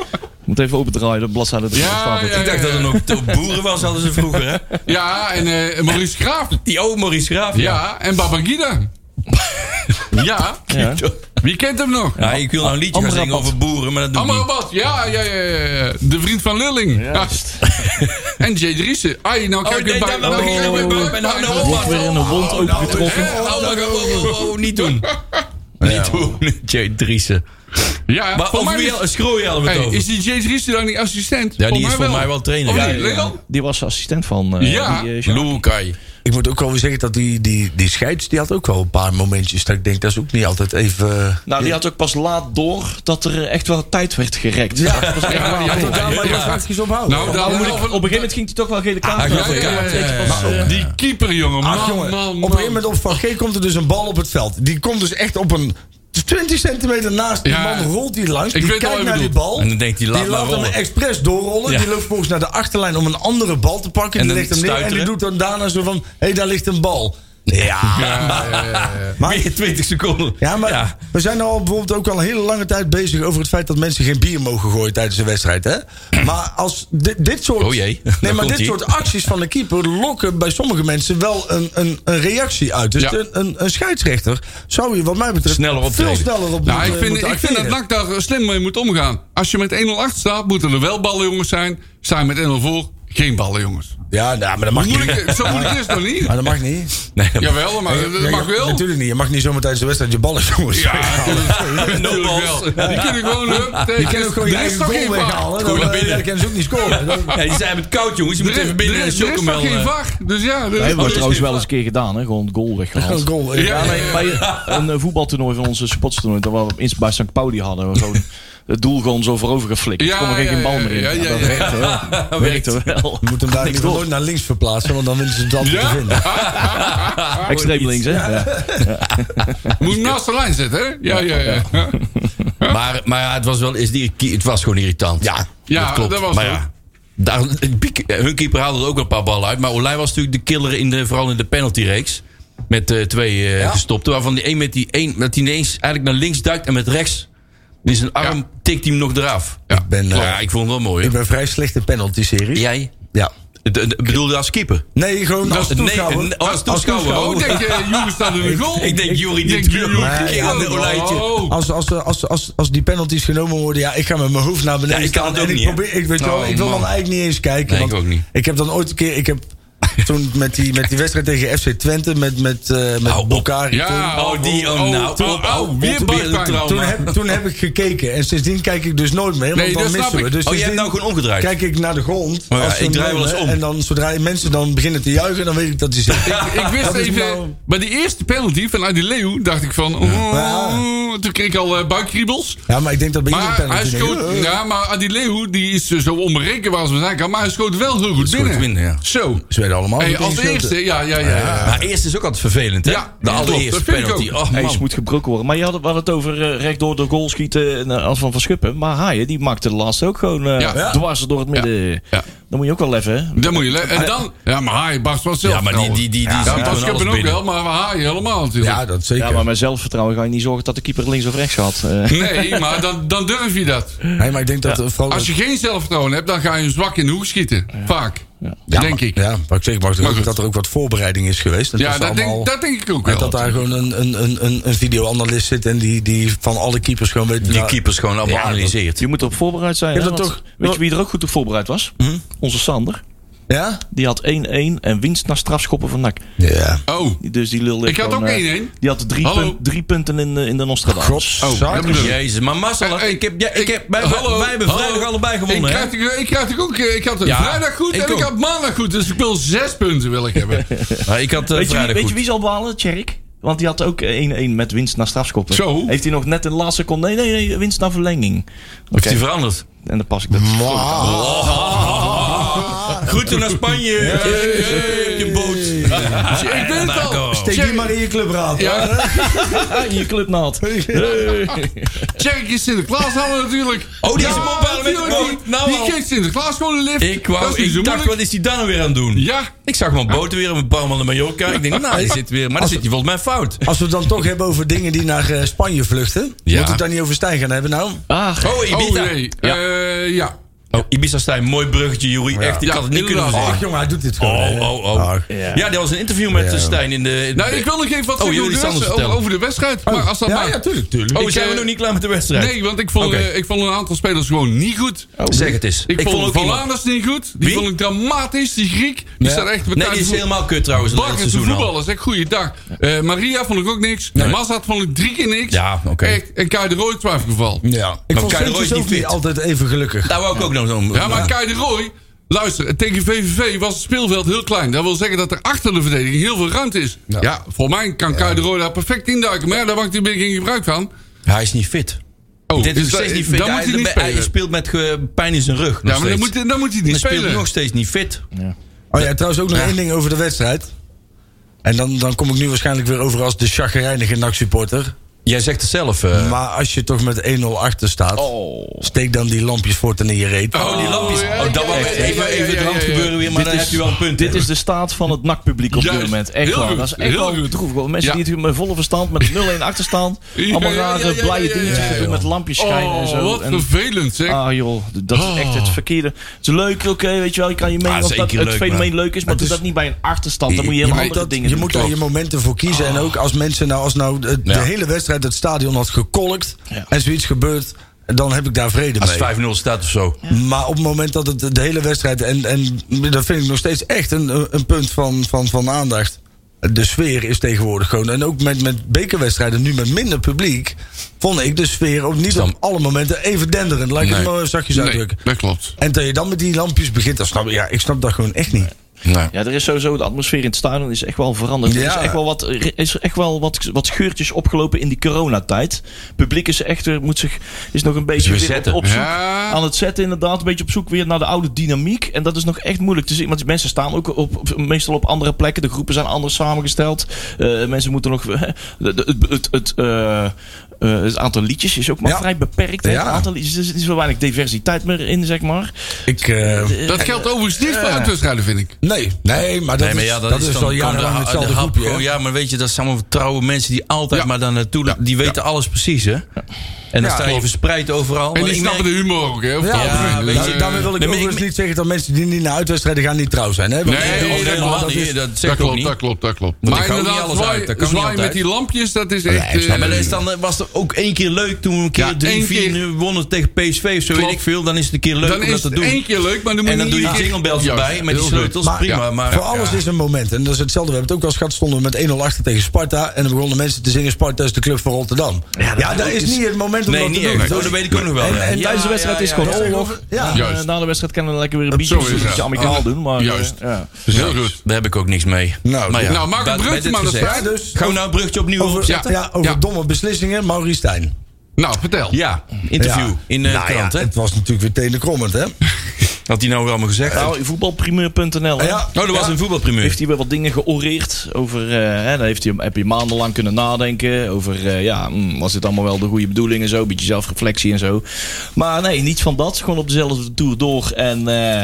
Moet even opendraaien, de bladzijde erin
Ja,
staat het.
ja.
Ik dacht dat er nog te- boeren was, hadden ze vroeger, hè?
Ja, en eh, Maurice Graaf.
Die oude Maurice Graaf.
Ja, en Babangida. ja,
Ja.
wie kent hem nog?
Ja, ik wil nou een liedje gaan zingen
Amrabat.
over boeren, maar dat doe ik niet.
Amrabat, ja, ja, ja, ja, ja. De vriend van Lilling.
Juist.
en Jay Driessen. Ai, nou
Oh
kijk
nee,
ik bij...
daar ben ik
nou,
weer bij. Ben nou nou
Wordt weer in een wond opengetrokken.
Hè? Oh, oh, oh, oh, oh, niet doen. Niet doen. Jay Driessen.
Ja,
Maar
voor
over
mij
wie
is,
hadden- Schroei hadden we het
Hey,
over.
is die Jay Driessen dan niet assistent?
Ja, die is voor mij wel trainer.
Of
Ja,
niet,
ja, ja.
Leon?
Die was assistent van... eh,
Oh, Ja,
die, eh, Sjaak.
Loekai.
Ik moet ook wel weer zeggen dat die, die, die scheids... die had ook wel een paar momentjes dat ik denk... dat is ook niet altijd even... eh,
nou, die had ook pas laat door dat er eh, echt wel tijd werd gerekt. Ja, dat was echt
Ja,
laat
die had
door.
ook daar-
maar
ja.
je ophouden.
Nou, daar
Nou, moet
moet
ik- op een gegeven moment ging hij toch wel gele kaart.
Ah,
over.
ja, ja, ja, ja, ja.
Maar-
Maar-
Die keeper, jongen. Man,
Ach jongen,
man,
op een
man.
gegeven moment op Van G komt er dus een bal op het veld. Die komt dus echt op een 20 centimeter naast die
Ja.
man, rolt die langs.
Ik
die
weet al
kijkt
wat je
naar die
bedoelt.
bal.
En dan denkt hij, laat
die
maar
laat hem
rollen.
expres doorrollen.
Ja.
Die loopt volgens naar de achterlijn om een andere bal te pakken.
En
die
dan
legt hem neer en die
stuiteren.
doet dan daarna zo van, hé, daar ligt een bal. Ja,
Ja, ja, ja, ja.
maar,
Meer 20 seconden.
ja, maar
Ja.
we zijn nou al bijvoorbeeld ook al een hele lange tijd bezig over het feit dat mensen geen bier mogen gooien tijdens een wedstrijd. Hè? Maar als dit, dit soort.
Oh jee,
Nee,
daar
maar dit
komt-ie.
soort acties van de keeper lokken bij sommige mensen wel een, een, een reactie uit. Dus
Ja.
een, een, een scheidsrechter zou je, wat mij betreft,
Sneller
veel
optreden.
sneller op
Nou,
moeten-
ik vind,
eh, moeten
ik vind dat
acteren.
NAC daar slim mee moet omgaan. Als je met 1-0 achter staat, moeten er wel ballen jongens zijn. Staan met 1-0 voor, geen ballen jongens.
Ja, nou, maar dat mag niet.
Moeilijk, zo moeilijk is het nog niet?
Maar dat mag niet.
Nee, dat-
Jawel, maar dat
Ja,
mag
ja,
wel.
Natuurlijk niet. Je mag niet zomaar tijdens de wedstrijd je ballen jongens.
Ja, natuurlijk
No balls.
wel. Die kunnen gewoon... hup,
Je kan
tegen-
ook gewoon je
Er is
eigen
toch
goal
geen VAR?
weghalen.
Goed
Dan,
naar
eh,
binnen.
dan kunnen ze ook niet scoren. Dan-
Ja, die zijn even koud, jongens. Je moet
Er is-
even binnen
er
en
is er is toch
chocomel. eh,
geen VAR? Dus ja, er
Dat
is-
hebben we
er is
trouwens
geen
wel eens een keer gedaan, hè? gewoon het goal weggehaald.
Een goal.
Ja,
Ja,
nee.
bij, bij een eh, voetbaltoernooi van onze supportstoernooi, dat we in- bij St. Pauli hadden, we gewoon het doel gewoon zo voorover geflikt.
Ja,
er kon er geen,
ja,
geen bal
ja,
meer in.
ja, ja,
dat
ja.
werkte wel. Dat werkte wel.
Je moet hem daar
Niks
niet
door.
nooit naar links verplaatsen, want dan willen ze het altijd te
Ja?
vinden.
Extreem links, hè? Ja.
ah, Moet hem naast de lijn zetten, hè? Ja, ja, ja. Ja,
Maar, maar ja, het was wel is die, het was gewoon irritant. Ja,
Ja, dat was
maar
het ook.
ja, daar, Biek- hun keeper haalde er ook wel een paar ballen uit. Maar Olij was natuurlijk de killer, in de, vooral in de penaltyreeks. Met eh, twee eh, gestopten. Waarvan die één met die één, dat hij ineens eigenlijk naar links duikt en met rechts. Die zijn arm
Ja.
tikt hij hem nog eraf. Nou
Ja.
Ik ben, eh,
ja, ik vond het wel mooi.
ik
hoor.
ben vrij slecht in penalty-series.
Jij?
Ja.
De- de- bedoelde als keeper?
Nee, gewoon als
nee,
toeschouwer.
nee, als toeschouwer.
Oh, denk je, jongens staan in de goal?
Ik denk, Jury, dit
denk,
kleur.
Jury,
Nee,
dit
ja,
kleur.
dit olijtje.
Oh.
Als, als, als, als, als die penalties genomen worden, ja, ik ga met mijn hoofd naar beneden.
Ja, ik kan
staan
het ook
en
niet,
Ik, probeer, ik, weet wel,
Oh,
ik wil
man.
dan eigenlijk niet eens kijken.
Nee, ik
want
ook niet.
Ik heb dan ooit een keer, ik heb toen met die, met die wedstrijd tegen FC Twente, met, met, eh, met
Hou op.
Bokari.
Ja,
Oh, die, oh, nou.
oh, oh,
Oh,
weer
weer een
buikpijn.
trauma.
Toen, heb, toen heb ik gekeken en sindsdien kijk ik dus nooit meer, want
Nee, dat
dan
snap
missen we.
ik.
Dus
Oh, jij hebt
sindsdien
nou gewoon omgedraaid.
Kijk ik naar de grond.
Oh ja,
als ze
ik
hem
draai wel eens
nemen
om.
En dan, zodra mensen dan beginnen te juichen, dan weet ik dat hij zit.
Ik wist
Dat is
even,
nou-
bij die eerste penalty vanuit die Leeuw dacht ik van... oh,
Ja.
Toen kreeg ik al eh, buikkriebels.
Ja, maar ik denk dat bij iedere
Maar
penalty...
hij
denk ik,
schoot,
eh,
ja, maar Adileeuw die is eh, zo onberekenbaar als we zijn kan, maar hij schoot wel heel goed
Schoot
binnen.
binnen, ja.
Zo.
Ze werden allemaal
Hey,
meteen
als
schoten.
eerste, ja, ja, ja. ja.
Maar eerst is ook altijd vervelend, hè?
Ja,
de
ja,
allereerste
klopt. Dat vind ik
penalty.
ook.
Oh,
Hij
man.
moet gebroken worden. Maar je had, het- we hadden het over eh, rechtdoor de goal schieten en, eh, als van Verschuppen. Maar Haaien, die maakte de laatste ook gewoon eh,
Ja.
dwars door het midden.
Ja.
Dan moet je ook wel even. hè?
Dan moet je le- En dan, ja, maar Haai barst wel zelf.
Ja, maar die, die, die, die
ja,
schiet
Bas
gewoon alles
Kippen ook
binnen.
wel, maar Haai helemaal natuurlijk.
Ja, dat zeker.
Ja, maar met zelfvertrouwen ga je niet zorgen dat de keeper links of rechts gaat. Eh,
Nee, maar dan, dan durf je dat.
Nee, maar ik denk dat eh, vooral...
Als je geen zelfvertrouwen hebt, dan ga je hem zwak in de hoek schieten. Vaak.
Ja,
Denk
maar-
ik.
Ja, maar ik zeg maar,
Maar goed.
dat er ook wat voorbereiding is geweest. En
Ja,
ze
dat
allemaal-
denk, dat denk ik ook
en
wel.
dat daar gewoon een, een, een, een, een videoanalist zit en die, die van alle keepers gewoon weet...
Die
nou,
keepers gewoon allemaal
Ja, dat-
analyseert.
je moet erop voorbereid zijn.
Ja,
hè,
dat
want
toch-
Weet je wie er ook goed op voorbereid was?
Hm?
Onze Sander.
Ja?
Die had 1-1 en winst naar strafschoppen van NAC.
Ja.
Oh,
Dus die lul
ik
heeft
had ook
gewoon, eh,
één.
Die had drie,
Hallo.
punt- drie punten in, eh, in de Nostradamus.
Klopt.
Oh, dat bedoel ik.
Jezus, maar Marcel,
Hey, hey,
ik heb, ja, ik
ik-
heb, wij,
hallo,
wij hebben
hallo.
vrijdag allebei gewonnen,
ik
hè?
krijg, ik, ik krijg ook, eh, ik had het
Ja,
vrijdag goed
ik
en
ook.
ik had maandag goed. Dus ik wil zes punten wil ik hebben.
Maar ik had
Weet,
eh,
je, wie-
vrijdag
weet je
goed.
wie zal behalen? Tjerk. Want die had ook 1-1 met winst naar strafschoppen.
Zo.
Heeft hij nog net in de laatste seconde. Nee, nee, nee, winst naar verlenging.
Heeft hij veranderd?
En dan pas ik dat.
Groeten naar Spanje! Hey, op je boot!
ik weet
Nou,
het al.
Marco.
Steek die maar in je clubraad.
Ja,
Ah, je clubnaald.
Tjerk is Sinterklaas hadden natuurlijk.
Oh, die is hem ophalen met de
natuurlijk,
boot.
die-
Nou
Die
al.
geeft Sinterklaas gewoon een lift.
Ik, wou-
Dat is niet
ik
zo
dacht,
moeilijk.
wat is die dan nou weer aan het doen?
Ja, Ah.
Ik zag mijn boten weer op een paar man in Mallorca. Ik denk, nou, die zit weer, maar dan zit hij volgens mij fout.
Als we het dan toch hebben over dingen die naar eh, Spanje vluchten...
Ja.
Moet het dan niet over Stijn gaan hebben nou?
Ah,
Oh,
oh
Ibiza.
nee.
Ja.
Eh, ja.
Oh, Ibiza Stijn, mooi bruggetje, Joeri. Echt, ik
Ja,
had het niet kunnen
inderdaad.
verzinnen.
Ach jongen, hij doet dit gewoon.
Oh,
hè.
oh, oh.
Ach.
Ja, dat was een interview met eh, Stijn in de... in
Nou,
de-
ik wil Ah, nog even
Oh,
wat zeggen
jullie
over, de
staan ons
wedstrijd- over,
vertellen.
over de wedstrijd. Maar als dat
Ja,
mag.
ja, tuurlijk, tuurlijk.
Oh, zijn we
eh,
nog niet klaar met de wedstrijd?
Nee, want ik vond,
Oké.
eh, ik vond een aantal spelers gewoon niet goed.
Zeg het eens.
Ik, vond,
ook
Van
iemand-
Lanes niet goed. Die
Wie?
vond ik dramatisch. Die Griek. Die
Ja.
staat echt met
Nee, die is helemaal kut trouwens. in Het
Bakken te
seizoen al.
voetballen. Zeg, goeiedag. Eh Maria vond ik ook niks. Mazat vond ik drie keer niks.
Ja, oké.
Echt, En Kai de Roy twijfelgeval.
Ja. Ik
Maar
vond
Kai de Roy is
Seuntjes
niet
ook niet
fit.
altijd even gelukkig.
Daar wou ik ook nog zo'n...
Ja, maar Kai de Roy... Luister, tegen VVV was het speelveld heel klein. Dat wil zeggen dat er achter de verdediging heel veel ruimte is. Ja, voor mij kan Kai de Roy daar perfect induiken. Maar ja, daar maakt hij een beetje geen gebruik van.
Hij is niet fit.
Oh,
Dit is nog
dus
steeds
dat-
niet fit.
Dan
Hij-
moet hij niet
hij- hij
spelen.
speelt met eh, pijn in zijn rug. nog
Ja, maar dan
steeds.
moet, hij- dan moet hij niet
Dan speelt hij
spelen.
nog steeds niet fit.
Oh ja, trouwens ook nog één ding over de wedstrijd. En dan, dan kom ik nu waarschijnlijk weer over als de chagrijnige NAC-supporter.
Jij zegt het zelf. eh.
Maar als je toch met 1-0 achter staat, steek dan die lampjes voort en in je reet.
oh, die lampjes.
ja,
Oh, dat
ja,
wou
ja,
even
ja,
even
ja,
het
ja,
rand
ja.
gebeuren weer, maar dan heb je wel een punt.
Dit is de staat van het NAC-publiek op dit
Juist.
moment. Echt
Heel
waar.
goed.
Dat is echt
Heel
wel
goed.
droevig. hoor. Mensen
Ja.
die het met volle verstand met 0-1 achterstand.
Ja,
Allemaal
ja, ja,
rare
ja, ja,
blije
ja, ja,
dingetjes
ja,
doen
joh.
met lampjes schijnen en
Oh,
zo.
wat
En-
vervelend zeg.
Ah joh, d- dat is echt het verkeerde. Het is leuk, oké, weet je wel. Je kan je mening
Ah,
of dat
zeker
het
leuk,
fenomeen leuk is, maar
Het
doe
is-
dat niet bij een achterstand. Dan moet je helemaal
moet
andere
dat-
dingen
je
doen.
moet daar je momenten voor kiezen. En ook als mensen nou, als nou de, de
Oh. Ja.
hele wedstrijd het stadion had gekolkt en zoiets gebeurt, dan heb ik daar vrede
Als
mee.
het 5-0 staat of zo.
Maar op het moment dat het de hele wedstrijd, en, en dat vind ik nog steeds echt een, een punt van, van, van aandacht. De sfeer is tegenwoordig gewoon. En ook met, met bekerwedstrijden, nu met minder publiek, vond ik de sfeer ook niet op alle momenten even denderend. Laat ik
Nee.
het maar zachtjes
Nee,
uitdrukken.
dat klopt.
En dat je dan met die lampjes begint, dat snap ik, ja, ik snap dat gewoon echt niet.
Nee.
Ja, er is sowieso de atmosfeer in het stadion is echt wel veranderd. Er is
Ja.
echt wel, wat, er is echt wel wat, wat scheurtjes opgelopen in die coronatijd. Het publiek is echt, er moet zich, is nog een beetje
weer
weer op,
zetten.
op zoek.
Ja.
Aan het zetten inderdaad, een beetje op zoek weer naar de oude dynamiek. En dat is nog echt moeilijk te zien. Want die mensen staan ook op, op- meestal op andere plekken. De groepen zijn anders samengesteld. Eh, mensen moeten nog... de- de- het, het, het, eh, eh, het aantal liedjes is ook maar
Ja.
vrij beperkt. hè.
Ja.
Het aantal liedjes, er is wel weinig diversiteit meer in, zeg maar.
Ik, eh,
Dat geldt overigens niet voor uitwedstrijden, vind ik.
nee, nee, maar dat,
Nee, maar ja,
is,
dat, is, dan
al
kan de
jarenlang
ha- de
hetzelfde
hap
groepje. hè.
gewoon, Ja, maar weet je, dat zijn allemaal vertrouwen mensen die altijd
Ja.
maar daar naartoe... Die weten alles precies, hè? En dan
Ja,
sta je
klopt.
verspreid overal.
En
Maar ik
die snappen de
merk-
humor ook, hè?
Ja,
Ja,
Vooral-
weet
Daar-
je,
daarmee wil ik
nee, maar
overigens
ik-
niet zeggen dat mensen die niet naar uitwedstrijden gaan niet trouw zijn. Hè? Want-
Nee,
Nee,
nee,
nee,
nee,
helemaal
dat
niet.
is-
dat zeg
Dat
ik ook
klopt,
niet.
dat klopt, dat klopt.
ik
Maar
hou niet
inderdaad,
alles
zwaai-
uit, dat kan niet
zwaaien met
altijd.
die lampjes, dat is echt... eh,
Ja, maar dat is dan, was er ook één keer leuk toen we een keer
Ja,
3,
één
4
keer.
wonnen tegen PSV of zo
Klopt.
weet ik veel. Dan is het een keer leuk
dan
om dat
is
te
het
doen.
één keer leuk, maar dan moet
en dan
niet
doe je
iedere keer-
jinglebels
Juist,
erbij met die
heel goed.
sleutels.
Maar-
prima.
Ja,
Maar,
Voor alles
ja.
is een moment. En dat is hetzelfde. We hebben het ook wel eens gehad. Stonden we met 1-0 achter tegen Sparta. En dan begonnen mensen te zingen: Sparta is de club van Rotterdam. Ja, dat, is niet het moment om
Nee,
dat
niet
te doen.
echt.
Dat
Oh,
is-
dat weet ik ook nog wel.
En-
ja.
en
Ja,
tijdens de wedstrijd
ja,
is
ja,
gewoon
ja.
de
oorlog.
oorlog. Ja.
Eh,
Juist.
na de wedstrijd kunnen we lekker weer een
Dat
biertje
zo is
een beetje
het.
amicaal
Ah,
doen. Maar, eh,
juist.
ja.
Heel goed.
Daar heb ik ook niks mee.
Nou,
maar ja,
nou, maak een
bij- bij
bruggetje
dit
maar, dat
gezegd.
is
fijn. Dus-
Gaan we nou een bruggetje opnieuw
over, ja,
opzetten? Ja,
over
Ja.
domme beslissingen, Maurice Stijn.
Nou, vertel.
interview
Ja.
in de
Nou ja,
krant. hè?
Het was natuurlijk weer tenenkrommend, hè?
Had hij nou weer allemaal gezegd?
Nou, voetbalprimeur.nl. hè?
Ja.
Oh, dat was een voetbalprimeur.
Heeft hij weer wat dingen georeerd over. eh, hè, dan heeft hij, heb je maandenlang kunnen nadenken. Over. eh, ja, mm, was dit allemaal wel de goede bedoeling en zo. Een beetje zelfreflectie en zo. Maar nee, niets van dat. Gewoon op dezelfde tour door. En. eh,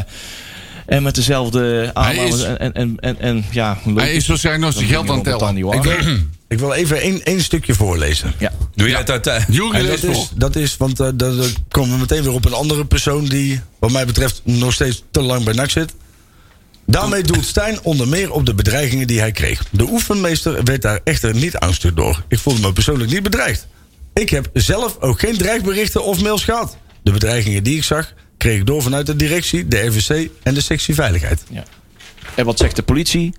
en met dezelfde aanhalen.
is-
En, en, en, en, en ja, hoe leuk
Hij is waarschijnlijk nog zijn
dingen
geld aan het
wat dat dan
tellen.
niet
Ik
waren.
wil, ik wil even één, één stukje voorlezen.
Ja.
Doe je dat uit?
Jury
En dat
leest voor.
is, dat is, want eh, dan dan komen we meteen weer op een andere persoon die, wat mij betreft, nog steeds te lang bij NAC zit. Daarmee doelt Stijn onder meer op de bedreigingen die hij kreeg. De oefenmeester werd daar echter niet angstig door. Ik voelde me persoonlijk niet bedreigd. Ik heb zelf ook geen dreigberichten of mails gehad. De bedreigingen die ik zag, kreeg ik door vanuit de directie, de RVC en de sectie veiligheid.
En wat zegt de politie?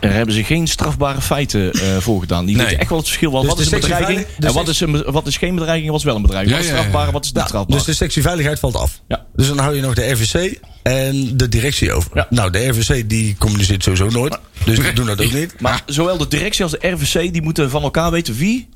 Er hebben ze geen strafbare feiten eh, voor gedaan. Die
Nee.
weten echt wel het verschil. Wat,
Dus
wat
de
is een
sectie
bedreiging?
veilig- de
En wat is, een, wat is geen bedreiging en wat is wel een bedreiging?
Ja,
wat is
ja, ja.
strafbaar en wat is niet strafbaar?
Dus de sectie veiligheid valt af.
Ja.
Dus dan hou je nog de RVC en de directie over.
Ja.
Nou, de RVC die communiceert sowieso nooit. Dus die doen dat ook niet.
Maar zowel de directie als de RVC die moeten van elkaar weten wie,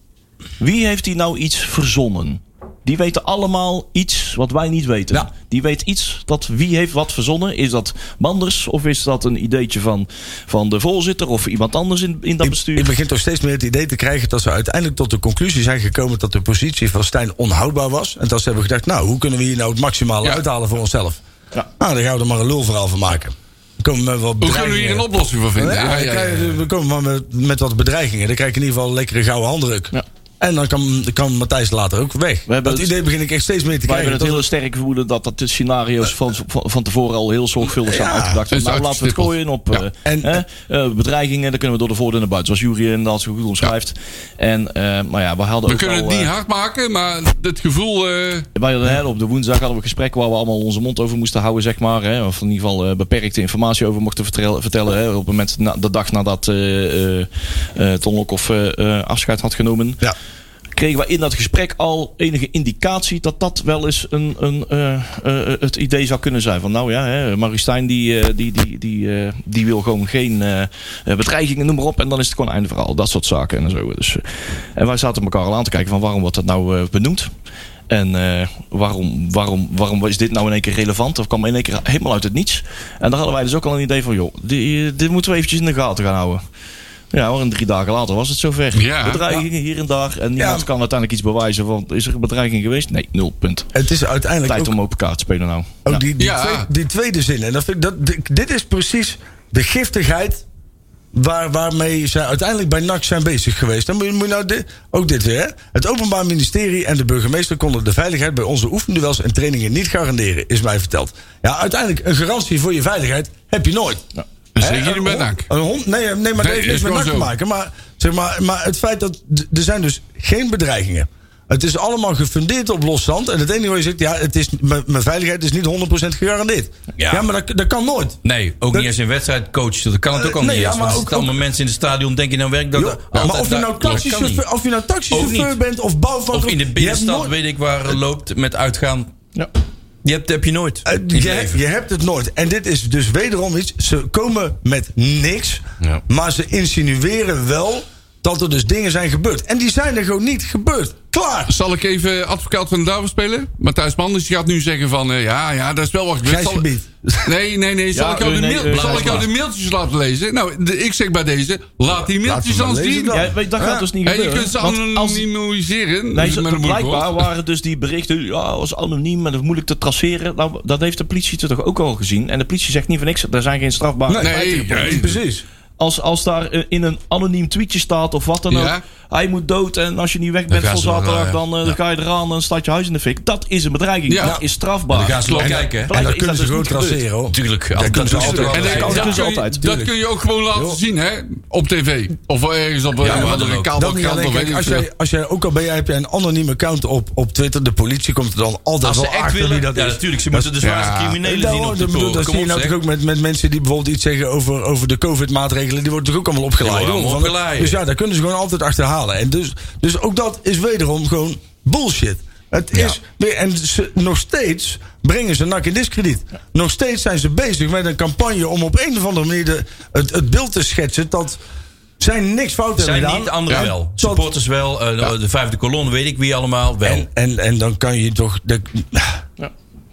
wie heeft hier nou iets verzonnen. Die weten allemaal iets wat wij niet weten.
Ja.
Die weet iets dat wie heeft wat verzonnen. Is dat Manders of is dat een ideetje van, van de voorzitter of iemand anders in, in dat
Ik,
bestuur?
ik begin toch steeds meer het idee te krijgen dat ze uiteindelijk tot de conclusie zijn gekomen dat de positie van Stijn onhoudbaar was. En dat ze hebben gedacht, nou, hoe kunnen we hier nou het maximale
Ja.
uithalen voor onszelf?
Ja.
Nou, dan gaan we er maar een lulverhaal van maken. Dan komen we met wat
Hoe kunnen we hier een
bedreigingen.
oplossing voor vinden? Ja,
Ja,
ja,
dan
ja.
krijg je- We komen maar met, met wat bedreigingen. Dan krijg je in ieder geval een lekkere gouden handdruk.
Ja.
En dan kan, kan Matthijs later ook weg.
We hebben
dat
het-
idee begin ik echt steeds meer
Wij
te krijgen.
hebben het
Dat-
hele sterk vermoeden dat dat de scenario's van, van, van tevoren al heel zorgvuldig zijn
Ja,
uitgedacht.
is
nou, laten we het
uitgestippeld.
gooien op
Ja,
eh,
en-
hè, eh, bedreigingen. Dan kunnen we door de voordeur naar buiten. Zoals Jury en dat zo goed omschrijft. En, eh, maar ja, we hadden
We
ook al,
kunnen het niet
eh,
hard maken, maar het gevoel... eh,
Wij hadden, hè, op de woensdag hadden we een gesprek waar we allemaal onze mond over moesten houden, zeg maar. Hè, of in ieder geval eh, beperkte informatie over mochten vertel- vertellen. Hè, op het moment, na, de dag nadat eh eh eh, Ton Lokhoff eh, eh, afscheid had genomen.
Ja.
Kregen wij in dat gesprek al enige indicatie dat dat wel eens een, een, eh, eh, het idee zou kunnen zijn. Van nou ja, hè, Marie Stijn die, eh, die, die, die, eh, die wil gewoon geen eh, eh, bedreigingen, noem maar op. En dan is het gewoon einde verhaal. Dat soort zaken en zo. Dus, eh, en wij zaten elkaar al aan te kijken van waarom wordt dat nou eh, benoemd? En eh, waarom, waarom, waarom is dit nou in één keer relevant? Of kwam in één keer helemaal uit het niets? En daar hadden wij dus ook al een idee van, joh, die- dit moeten we eventjes in de gaten gaan houden. Ja, maar en drie dagen later was het zover.
Ja.
Bedreigingen hier en daar. En niemand
Ja.
kan uiteindelijk iets bewijzen. Want is er een bedreiging geweest? Nee, nul punt.
Het is uiteindelijk
Tijd
ook
om open kaart te spelen nou.
Ook
Ja.
die, die,
Ja.
twee- die tweede zin. En dat vind ik, dat, di- dit is precies de giftigheid waar, waarmee zij uiteindelijk bij NAC zijn bezig geweest. Dan moet je, moet je nou dit, ook dit weer. Hè? Het Openbaar Ministerie en de burgemeester konden de veiligheid bij onze oefenduels en trainingen niet garanderen, is mij verteld. Ja, uiteindelijk een garantie voor je veiligheid heb je nooit.
Dat
Hè,
zeggen jullie
een
met
hond-
dank.
Een hond, nee, nee, maar
Nee,
dat heeft niks
is
met
gewoon
NAC te
zo.
maken. Maar, zeg maar, maar het feit dat d- er zijn dus geen bedreigingen. Het is allemaal gefundeerd op los zand. En het enige wat je zegt, ja, het is, mijn mijn veiligheid is niet 100% gegarandeerd. Ja,
Ja.
maar dat, dat kan nooit.
Nee, ook
Dat-
niet als je een wedstrijd coacht. Dat kan het ook
Eh,
al
nee,
niet
ja,
eens.
maar
Want er
ook-
zitten allemaal mensen in het stadion denken nou werk dat
Jo,
altijd
maar of je
daar-
nou
dat kan niet.
taxichauffeur, of je nou
Ook
taxichauffeur
niet.
bent of bouwvakker...
Of in de binnenstad,
je hebt nooit-
weet ik waar, loopt met uitgaan.
Ja.
Je hebt, heb je nooit.
Eh,
in het
je,
leven.
hebt- je hebt het nooit. En dit is dus wederom iets. Ze komen met niks.
Ja.
Maar ze insinueren wel dat er dus dingen zijn gebeurd. En die zijn er gewoon niet gebeurd. Klaar.
Zal ik even advocaat van de duivel spelen? Matthijs Manders die gaat nu zeggen van... eh, ja, ja, dat is wel wat gebeurd.
Grijs
Zal-
gebied.
Nee, nee, nee. Zal
Ja,
ik jou
eh,
de,
nee,
mail-
eh,
zal ik jou
maar.
de mailtjes laten lezen? Nou, de- ik zeg bij deze... Laat die mailtjes
maar
dan
lezen
zien.
dan.
Ja, weet, dat gaat
Ja.
dus niet
En je
gebeuren.
kunt ze
Want als-
anonimiseren.
Nee,
dus
ze-
met een moeilijk
blijkbaar
woord.
waren dus die berichten, ja, was anoniem en dat is moeilijk te traceren. Nou, dat heeft de politie toch ook al gezien. En de politie zegt niet voor niks, er zijn geen strafbare
Nee,
feiten.
nee,
Precies.
Als, als daar eh, in een anoniem tweetje staat of wat dan
Ja.
ook. Hij moet dood en als je niet weg bent
gaan
voor
ze wel,
zaterdag,
eh,
dan, eh, dan ga je eraan en staat je huis in de fik. Dat is een bedreiging.
Ja.
Dat is strafbaar.
Dan gaan ze wel
Klopt.
kijken. hè?
En dat
Blijkbaar
kunnen
is
ze
dat
gewoon
dus niet gebeurd.
traceren hoor.
Tuurlijk. ja,
dat
dat
kunnen ze
is
altijd
natuurlijk
En
wel
dat
dat, dat
doen ze
kun je-
altijd.
dat kun je ook gewoon laten zien, hè? Op tv. Of ergens op eh,
Ja,
een
maar dan
andere
ook.
Dat niet
kabelkrant.
alleen,
of weet
kijk,
ik
als,
veel.
jij, als jij ook al ben jij, heb jij een anoniem account op, op Twitter, de politie komt er dan altijd
Als ze
wel
echt
achter
willen.
wie dat
ja,
is.
natuurlijk. Ze moeten de zwaarste
Ja.
criminelen
Nou,
zien op
dat
de
bedoel,
toren.
dat
Kom
zie je
op,
nou
zeg.
natuurlijk ook met, met mensen die bijvoorbeeld iets zeggen over, over de COVID-maatregelen. Die worden natuurlijk ook allemaal opgeleid.
Die worden allemaal opgeleid.
Dus ja, daar kunnen ze gewoon altijd achterhalen. En dus, dus ook dat is wederom gewoon bullshit. Het is weer, en ze, nog steeds brengen ze NAC in discrediet. Nog steeds zijn ze bezig met een campagne om op een of andere manier de, het, het beeld te schetsen dat zij niks fout
Zijn
hebben gedaan.
niet anderen
En
wel.
dat-
Supporters wel. eh, De vijfde kolon, weet ik wie allemaal wel.
en, en, en dan kan je toch. De,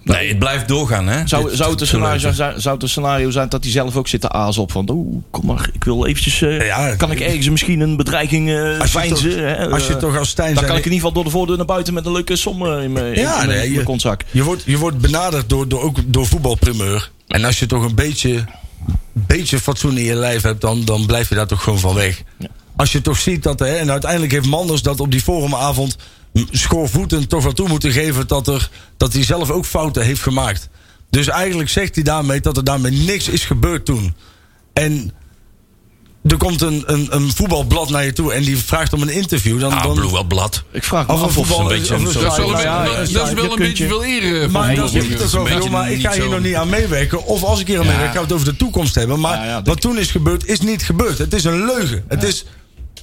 Nee, het blijft doorgaan, hè?
Zou, zou, het een scenario
zijn?
zijn, zou het een scenario zijn dat hij zelf ook zit te azen op van... Oeh, kom maar, ik wil eventjes... eh,
Ja,
kan ik ergens misschien een bedreiging eh
als, je
veinzen? hè?
toch, als je
Eh,
toch als Stijn
dan
zijn-
kan ik in ieder geval door de voordeur naar buiten met een leuke som eh, in mijn
Ja,
ja,
nee, je-
kontzak.
Je wordt, je wordt benaderd door, door, ook door voetbalprimeur. En als je toch een beetje, beetje fatsoen in je lijf hebt, dan, dan blijf je daar toch gewoon van weg.
Ja.
Als je toch ziet dat, hè, en uiteindelijk heeft Manders dat op die forumavond m, schoorvoetend toch wel toe moeten geven dat, er, dat hij zelf ook fouten heeft gemaakt. Dus eigenlijk zegt hij daarmee dat er daarmee niks is gebeurd toen. En er komt een, een, een voetbalblad naar je toe en die vraagt om een interview. Dan,
Ah,
dan,
Blue wel blad.
Ik vraag me
Of een
af of
voetbal-
ze-
een beetje een
Dat is wel
Ja,
een,
ja,
be-
ja,
dat- dat is
ja,
wel
je
een
kunt
beetje
je-
veel eer eh,
Maar
voor
dat
voetbal.
is niet zo
Een beetje
veel, maar ik ga
niet
hier
zo-
nog niet aan meewerken. Of als ik hier aan meewerk, ga ik het over de toekomst hebben. Maar
Ja, ja, dat-
wat toen is gebeurd, is niet gebeurd. Het is een leugen. Het is,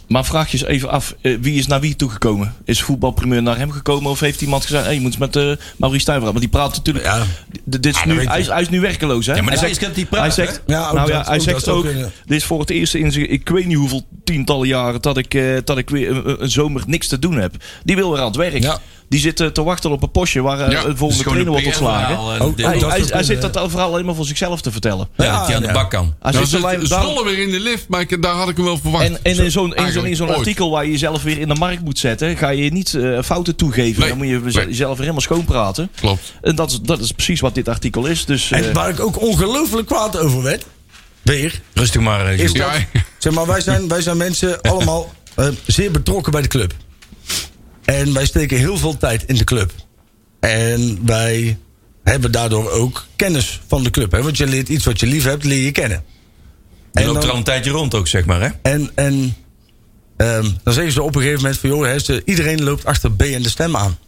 Maar vraag je eens even af, eh, wie is naar wie toegekomen? Is voetbalprimeur naar hem gekomen of heeft iemand gezegd... Hey, je moet met eh Maurice Stuyver praten? Maar die praat natuurlijk...
Ja.
D- Dit is nu,
weet
hij, is, hij is nu werkeloos, hè?
Ja, maar
hij
dat
zegt,
is dat die praat,
hij zegt,
hè? Ja, ook
nou ja,
dat,
hij
ook dat
zegt
zou
ook,
kunnen.
dit is voor het eerst in zijn, ik weet niet hoeveel tientallen jaren... dat ik, eh, dat ik weer een, een zomer niks te doen heb. Die wil weer aan het werk.
Ja.
Die zit eh, te wachten op een postje waar eh,
Ja,
een volgende trainer wordt ontslagen.
Ook-
Hij,
ook
hij,
dat-
eh, Oh, Ja,
hij
zou kunnen,
zit dat verhaal alleen maar voor zichzelf te vertellen.
dat hij aan de bak kan.
Hij
Nou,
zit alleen-
zit
daarom-
Zwolle weer in de lift, maar ik, daar had ik hem wel verwacht.
en, en in zo'n in zo'n- in
eigenlijk
zo'n
ooit.
artikel waar je jezelf weer in de markt moet zetten, ga je niet eh, fouten toegeven.
Nee,
Dan moet je weze-
nee.
jezelf weer helemaal schoonpraten.
Klopt.
En dat, is- dat is precies wat dit artikel is. Dus, eh,
en waar ik ook ongelooflijk kwaad over werd, weer,
Rustig maar. eh,
is
Joep.
Ja.
dat, zeg maar, wij zijn, wij zijn mensen allemaal eh, zeer betrokken bij de club. En wij steken heel veel tijd in de club. En wij hebben daardoor ook kennis van de club. Hè? Want je leert iets wat je lief hebt, leer je kennen.
Je
En
loopt
dan-
er al een tijdje rond ook, zeg maar, hè?
En, en ehm, dan zeggen ze op een gegeven moment van... joh, hè, ze- iedereen loopt achter B en de stem aan.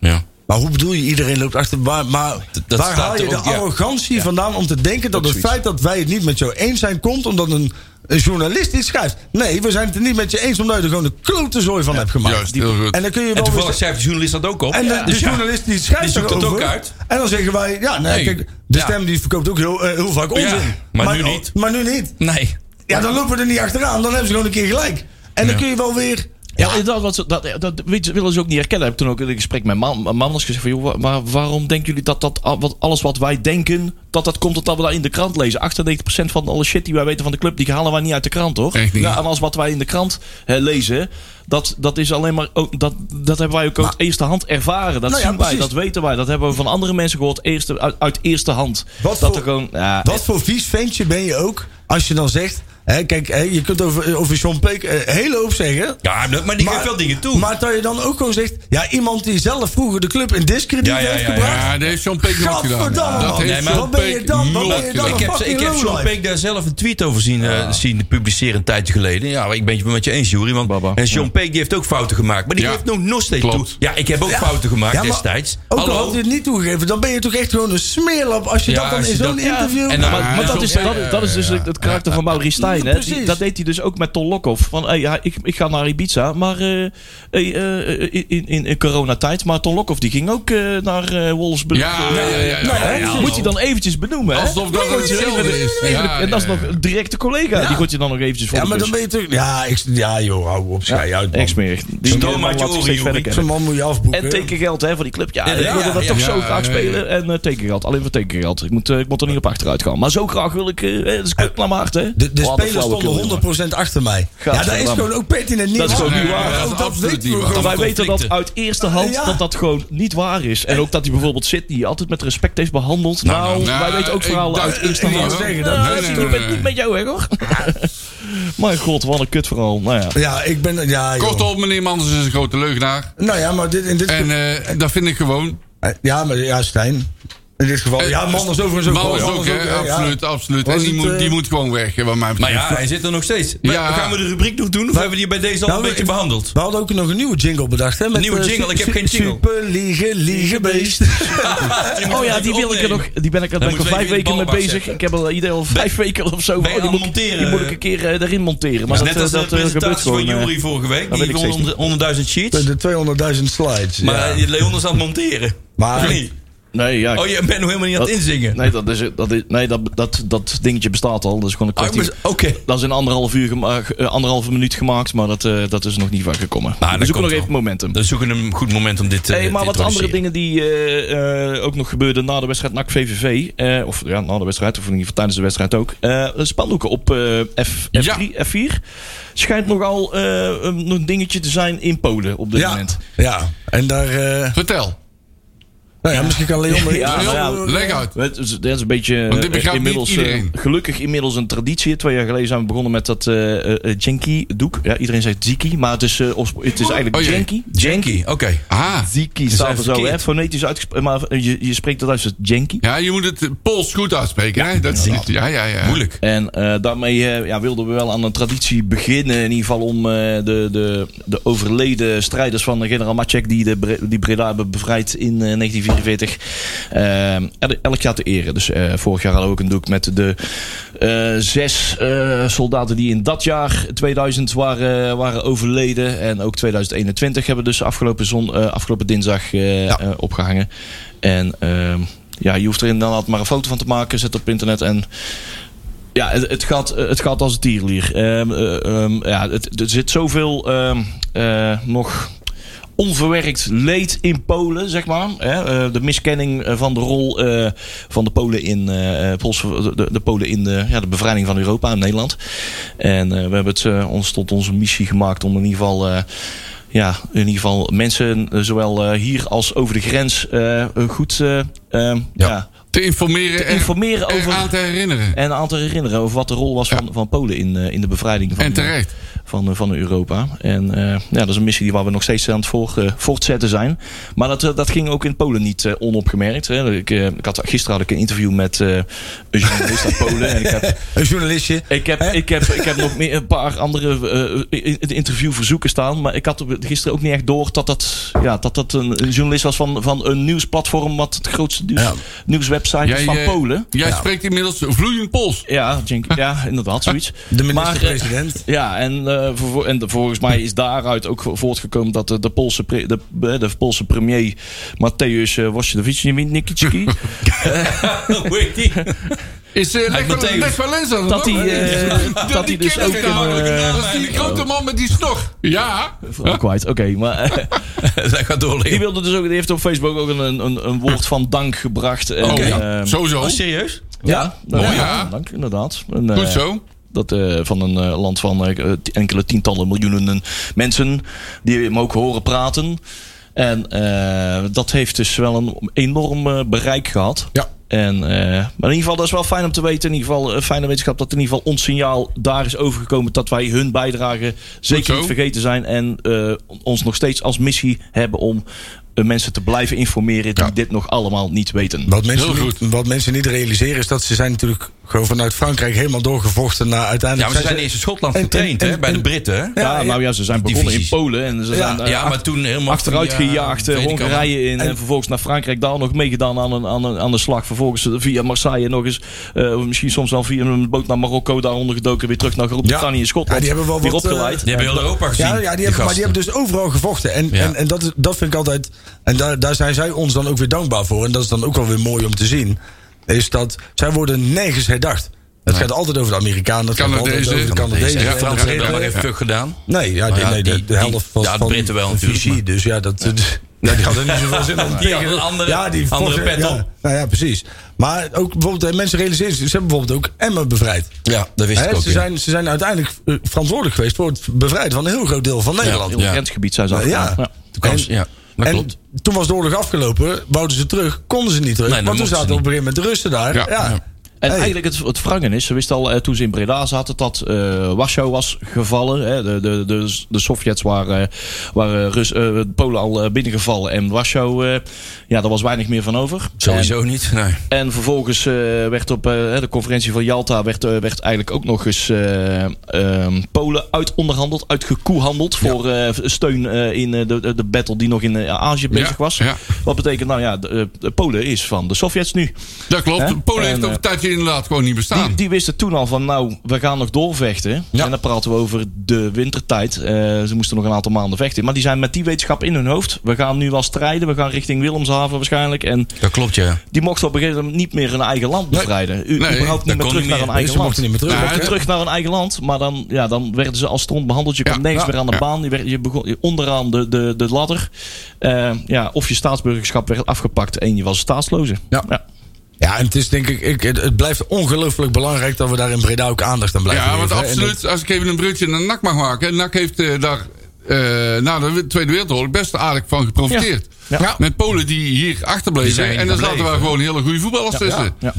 Ja.
Maar hoe bedoel je iedereen loopt achter... Maar, maar
D- dat
waar
staat
haal je
er
de
ook, ja.
arrogantie vandaan om te denken... dat het feit dat wij het niet met jou eens zijn komt... omdat een, een journalist iets schrijft. Nee, we zijn het er niet met je eens... omdat je er gewoon een klote zooi van hebt gemaakt.
Juist, heel goed.
En dan kun je
En
wel
toevallig
weer-
schrijft de journalist dat ook op.
en de, de
Dus ja.
journalist die schrijft
Die zoekt het
erover.
ook uit.
En dan zeggen wij, ja, nee,
Nee.
kijk, de
Ja.
stem die verkoopt ook heel, eh, heel vaak onzin.
maar nu niet.
Maar nu niet.
Nee.
Ja, dan lopen we er niet achteraan. Dan hebben ze gewoon een keer gelijk. En dan
Ja.
kun je wel weer...
ja, dat, wat ze- dat, dat weet je, willen ze ook niet herkennen. Heb ik toen ook in een gesprek met Man- Manders gezegd: van, joh, wa- waar- waarom denken jullie dat, dat al- wat, alles wat wij denken, dat dat komt omdat we dat in de krant lezen? 98% van alle shit die wij weten van de club, die halen wij niet uit de krant, hoor.
Echt niet.
Ja, en alles wat wij in de krant hè, lezen, dat, dat is alleen maar ook, dat, dat hebben wij ook uit eerste hand ervaren. Dat
Nou ja,
zien wij,
precies.
dat weten wij. Dat hebben we van andere mensen gehoord eerste, uit, uit eerste hand.
Wat
dat
voor-
er gewoon, ja,
Wat voor vies ventje ben je ook als je dan zegt... Hè, kijk, hè, je kunt over, over John Peek eh, een hele hoop zeggen...
Ja, maar die geeft wel dingen toe.
Maar dat je dan ook gewoon zegt... Ja, iemand die zelf vroeger de club in discrediet
Ja, ja,
heeft
ja,
gebracht...
Ja, dat heeft John Peek nooit gedaan.
Gadverdamme,
Dat
man.
heeft
Nee, maar-
John
Wat ben je
Peek
dan? Wat ben
nooit
je
gedaan.
dan?
Ik heb, ik
fucking
heb Sean
lowlife.
Peek daar zelf een tweet over zien, eh,
Ah.
zien publiceren een tijdje geleden. Ja, maar ik ben het met je eens, Jury. Want
Baba.
en Sean Peek die heeft ook fouten gemaakt. Maar die
Ja.
geeft nog, nog steeds
Klopt.
toe. Ja, ik heb ook
Ja.
fouten gemaakt
Ja, maar
destijds.
Ook al
Hallo.
had hij het niet toegegeven, dan ben je toch echt gewoon een smeerlap... als je
Ja,
dat dan
als
in
je
zo'n
dat-
interview...
En dan-
Maar,
Ja,
maar dat,
zo-
is, dat, dat is dus het- het karakter van Maurice Stijn. hè? Die-
precies.
dat deed hij dus ook met Ton Lokhoff. Van, hey, ja, ik, ik ga naar Ibiza, maar eh, eh, eh, eh, in, in, in coronatijd. Maar Ton Lokhoff die ging ook eh, naar eh Wolfsburg.
Ja,
Eh,
ja, ja, ja.
hè?
ja, ja.
moet hij dan eventjes benoemen. hè?
Alsof dat
Dan moet je
hetzelfde
even de-
is.
even de-
Ja,
en dat is
ja,
nog
ja.
een directe collega. Die wordt je dan nog eventjes voor
Ja,
de
maar
bus.
dan ben je toch... Ja, ik, ja joh, hou op, schei uit, man.
Echt smerig. Die
Stoom
man laat
uit je
zich
oren,
steeds
Joeri.
verder
Zo'n
kennen.
man moet je afboeken.
En tekengeld hè, voor die club. Ja,
Ja,
ik wilde
ja,
dat
ja,
toch
ja,
zo
ja,
graag
ja.
spelen. En eh, tekengeld. Alleen voor tekengeld. Ik moet, eh, ik moet er niet op achteruit gaan. Maar zo graag wil ik... eh, het is kut naar mijn hart, hè.
De, de
Wat een
spelers
flauwekul, jongen.
stonden 100% achter mij. Ja, dat is
Gadverdamme.
gewoon ook pertinent niet
Dat is
waar.
gewoon niet waar.
Ja,
Dat is
ook
absoluut
weten we
niet waar.
gewoon.
Wij
conflicten.
weten dat uit eerste hand
Ja.
dat dat gewoon niet waar is. En ook dat hij bijvoorbeeld Sydney altijd met respect heeft behandeld. Nou,
nou,
wij
nou,
weten ook
ik
verhalen
dacht-
uit eerste
ik wou
hand.
zeggen,
Nou,
dat- nee,
Sydney,
nee,
ik ben
nee,
het niet
nee.
met jou, hè, hoor. Mijn god, wat een kut vooral. Nou ja.
Ja, ik ben... Ja, joh.
Kortom, meneer Manders is een grote leugenaar.
Nou ja, maar dit, in dit
En
geval...
eh, dat vind ik gewoon.
eh,
ja, maar, ja, Stijn. In dit geval...
Eh,
ja, Manders overigens ook.
Manders
wel.
ook, hè?
hè, ja.
absoluut, absoluut.
Was
En die,
het,
moet, die
eh,
moet gewoon weg, hè, wat mij
Maar
betreft.
ja, hij zit er nog steeds. Maar
Ja.
Gaan we de rubriek nog doen? Of hebben we die bij deze al
Nou,
een beetje
ik-
behandeld?
We hadden ook nog een nieuwe jingle bedacht, hè? Met,
Nieuwe
eh,
jingle,
su-
ik heb
su-
geen jingle.
Super liege, liege beest.
Oh ja, die wil ik er nog. Die ben ik, daar ben ik al
moeten we
vijf
even in
weken
de
mee
ballenbak
bezig.
zetten.
Ik heb al ieder al vijf weken of zo.
Ben
Oh, die
je aan het
moet ik-
monteren?
Die moet ik een keer eh, erin monteren. Maar
Net
dat,
als
eh,
de
dat eh, gebeurt
presentatie
gewoon.
van
eh,
Jury vorige week.
dat
Die
weet ik
won
zeker.
100.000 sheets.
De 200.000 slides.
Maar
ja.
eh, Leon is aan het monteren.
Maar-
Of niet?
Nee, ja. ik-
Oh, je bent nog helemaal niet aan het
dat- Nou,
inzingen.
Nee, dat, is, eh, dat, is, nee dat, dat, dat dingetje bestaat al. Dat is gewoon een
Oh, ik
kwartier.
moest- Oké.
Dat is in anderhalf uur gema- eh, anderhalve minuut gemaakt, maar dat, eh, dat is nog niet van gekomen.
Nou, dat
we
komt
zoeken nog
wel.
even momentum.
Dan zoeken we een goed moment om dit eh, te
Eh,
Hey, maar
te
wat andere
introduceren.
dingen die eh, eh, ook nog gebeurden na de wedstrijd NAC VVV. eh, of ja, na de wedstrijd, of in ieder geval tijdens de wedstrijd ook. Eh spandoeken op eh, F,
Ja.
F3, F4. Schijnt nogal eh, een een dingetje te zijn in Polen op dit
ja,
moment.
ja, en daar... eh,
Vertel.
nou ja, misschien kan Leon...
Ja,
Leon,
ja.
leg uit.
Het is- dus, Dat is een beetje
Want dit
eh,
begrijpt niet
inmiddels, eh,
iedereen.
gelukkig inmiddels een traditie. Twee jaar geleden zijn we begonnen met dat eh eh, eh, Jenki doek. Ja, iedereen zegt Ziki, maar het is, eh, of- het is eigenlijk
Oh jee.
Jenki.
Janky, oké.
Ah,
Ziki staat er zo,
verkeerd.
hè? Fonetisch uitgesproken, maar eh, je, je spreekt dat uit als Jenki.
ja, je moet het eh, Pools goed uitspreken. hè? Dat is niet, ja, ja, ja.
Moeilijk.
En eh, daarmee eh, ja, wilden we wel aan een traditie beginnen. In ieder geval om eh, de, de, de overleden strijders van eh, generaal Maciek... die, de, Bre- die Breda hebben bevrijd in eh, 1944, eh, el- elk jaar te eren. Dus eh, vorig jaar hadden we ook een doek met de eh, zes eh, soldaten... die in dat jaar 2000 waren, waren overleden. En ook 2021 hebben dus afgelopen, zon, eh, afgelopen dinsdag eh, eh, opgehangen. En... ehm, ja, je hoeft er inderdaad maar een foto van te maken. Zet op internet en ja, het, het gaat, eh, het gaat als een tierlier. Ehm, eh, ehm, ja, het, er zit zoveel ehm, eh, nog onverwerkt leed in Polen, zeg maar. Hè? Eh, de miskenning eh, van de rol eh, van de Polen in, eh, Poolse- de, de Polen in de, ja, de bevrijding van Europa en Nederland. En eh, we hebben het eh, ons tot onze missie gemaakt om in ieder geval... eh, ja, in ieder geval mensen, eh, zowel eh, hier als over de grens, eh, goed eh, ehm, ja.
Te informeren
te
en
informeren
er
over
aan te herinneren.
en aan te herinneren over wat de rol was van, van Polen in, eh, in de bevrijding van,
En terecht.
van, eh, van Europa. En eh, ja, dat is een missie die waar we nog steeds aan het voor, eh, voortzetten zijn. Maar dat, eh, dat ging ook in Polen niet eh, onopgemerkt. Hè. Ik, eh, ik had, gisteren had ik een interview met eh, een journalist uit Polen. En ik heb
Een journalistje.
ik heb,
Hè?
ik heb, ik heb nog meer, een paar andere eh, in- in- interviewverzoeken staan. Maar ik had op- gisteren ook niet echt door dat dat, ja, dat, dat een een journalist was van, van een nieuwsplatform. Wat het grootste nieuws,
Ja.
nieuwswebsite is van
eh,
Polen.
Jij spreekt inmiddels vloeiend Pools.
Ja, Jenk- ja, inderdaad, zoiets.
De
Maar, eh,
minister-president.
Ja, en, eh, voor- voor- en de- volgens mij is daaruit ook voortgekomen dat de, de, Poolse, pre- de, eh, de Poolse premier Mateusz uh, Wojciechowicz-Nikitski...
Hoe heet die?
Is eh Lech Wal-
Matthäus.
Lech Walenza dan
Dat
ook?
hij, eh,
Die-
dat
die
hij dus
ken ik
ook in,
namelijk.
eh,
Dat is die grote man met die snor. Ja.
oh, kwijt, oké. maar eh,
Dat gaat
die,
doorliggen.
wilde dus ook, die heeft op Facebook ook een, een, een woord van dank gebracht. En,
Oké,
eh,
sowieso.
Oh, serieus?
ja, nou
Mooi,
ja,
ja.
dank, inderdaad. En, eh,
Goed zo.
Dat eh, van een eh, land van eh, t- enkele tientallen miljoenen eh, mensen die hem ook horen praten. En eh, dat heeft dus wel een enorm eh, bereik gehad.
Ja.
En, eh, maar in ieder geval, dat is wel fijn om te weten. In ieder geval, eh, fijne wetenschap dat in ieder geval ons signaal daar is overgekomen. Dat wij hun bijdrage
zo.
zeker niet vergeten zijn. En eh, ons nog steeds als missie hebben om eh, mensen te blijven informeren die dit nog allemaal niet weten.
Wat mensen,
Heel
niet, wat mensen niet realiseren is dat ze zijn natuurlijk gewoon vanuit Frankrijk helemaal doorgevochten naar
Ja,
uiteindelijk...
maar ze zijn eerst in Schotland
en-
getraind,
en-
hè? Bij de
en-
Britten, hè?
Ja,
Ja,
nou ja, ze zijn
die
begonnen in
visies.
Polen en ze zijn eh,
Ja, maar toen helemaal...
achteruit gejaagd, eh,
weet ik
Hongarije in en,
En-
vervolgens naar Frankrijk. Daar nog meegedaan aan, een, aan, een, aan de slag. Vervolgens eh, via Marseille nog eens, eh, of misschien soms wel via een boot naar Marokko. Daaronder gedoken, weer terug naar Groot-Brittannië en Schotland.
Ja, die hebben wel
weer
wat, eh,
opgeleid.
Die hebben heel Europa gezien.
Ja, ja die hebben, maar die
gasten.
hebben dus overal gevochten. En,
Ja.
en, en dat, is- dat vind ik altijd. En daar, daar zijn zij ons dan ook weer dankbaar voor. En dat is dan ook wel weer mooi om te zien. Is dat zij worden nergens herdacht. Het gaat altijd over de Amerikanen. Het gaat altijd
Canadezen.
over de
Deze
Canadezen.
ja,
en de
Fransen hebben
Britten.
daar maar even fuck gedaan.
Nee, ja, die-
ja,
nee,
die-
de, de
die-
helft was
ja, de
van
Britten wel natuurlijk,
visie, Dus ja, dat, eh, ja, die hadden niet zoveel zin om
Die hadden een andere,
ja, die
andere
vochten-
pet
ja,
op.
Nou ja, precies. Maar ook bijvoorbeeld, eh, mensen realiseren zich, ze hebben bijvoorbeeld ook Emmen bevrijd.
Ja, dat wist
Hè,
ik ook.
ze, zijn, ze zijn uiteindelijk eh, verantwoordelijk geweest voor het bevrijden van een heel groot deel van Nederland.
Heel
Ja.
grensgebied zijn ze
Nou,
afgegaan.
ja.
Ja.
Kans, ja, dat
en
klopt.
toen was de oorlog afgelopen, wouden ze terug, konden ze niet terug.
Nee, dat
want toen
mochten
zaten
ze
op een gegeven moment de Russen daar.
Ja,
Ja,
ja.
En
Hey.
eigenlijk het, het wrangen is, ze wisten al eh, toen ze in Breda zaten dat eh, Warschau was gevallen. Hè, de, de, de, de Sovjets waren, eh, waren Rus, eh, Polen al eh, binnengevallen en Warschau, eh, ja, daar was weinig meer van over.
Sowieso niet. Nee.
En vervolgens eh, werd op eh, de conferentie van Yalta werd, eh, werd eigenlijk ook nog eens eh, ehm, Polen uitonderhandeld, uitgekoehandeld voor eh, steun eh, in eh, de, de- de battle die nog in eh, Azië bezig was.
ja.
Wat betekent nou ja, de, eh, de Polen is van de Sovjets nu.
Dat klopt.
Hè?
Polen heeft
En,
over
eh,
een tijdje inderdaad gewoon niet
Die,
bestaan.
die wisten toen al van nou, we gaan nog doorvechten.
Ja.
En dan praten we over de wintertijd. Eh, ze moesten nog een aantal maanden vechten. Maar die zijn met die wetenschap in hun hoofd. We gaan nu wel strijden. We gaan richting Willemshaven waarschijnlijk. En
Dat klopt, ja.
die mochten op een gegeven moment niet meer hun eigen land bevrijden. U,
Nee,
überhaupt
dat
niet meer
kon
terug
niet
naar
meer.
hun eigen
Ze
land.
mochten niet meer terug.
Ja,
Weer
hè?
terug naar hun eigen land, maar dan, ja, dan werden ze als stront behandeld. Je
Ja,
kwam nergens
ja,
meer aan de
ja.
baan. Je, werd, je begon je- onderaan de, de, de ladder. Eh, ja, of je staatsburgerschap werd afgepakt en je was staatsloze.
Ja. Ja, en het is denk ik, ik het, het blijft ongelooflijk belangrijk dat we daar in Breda ook aandacht aan blijven
Ja, want
geven, hè. En
absoluut. Als ik even een bruutje naar NAC mag maken. NAC heeft eh, daar eh, na de Tweede Wereldoorlog best aardig van geprofiteerd.
Ja. Ja.
Met Polen die hier
Die
achterbleven.
zijn
En daar zaten
gebleven.
wel gewoon hele goede voetballers tussen.
ja.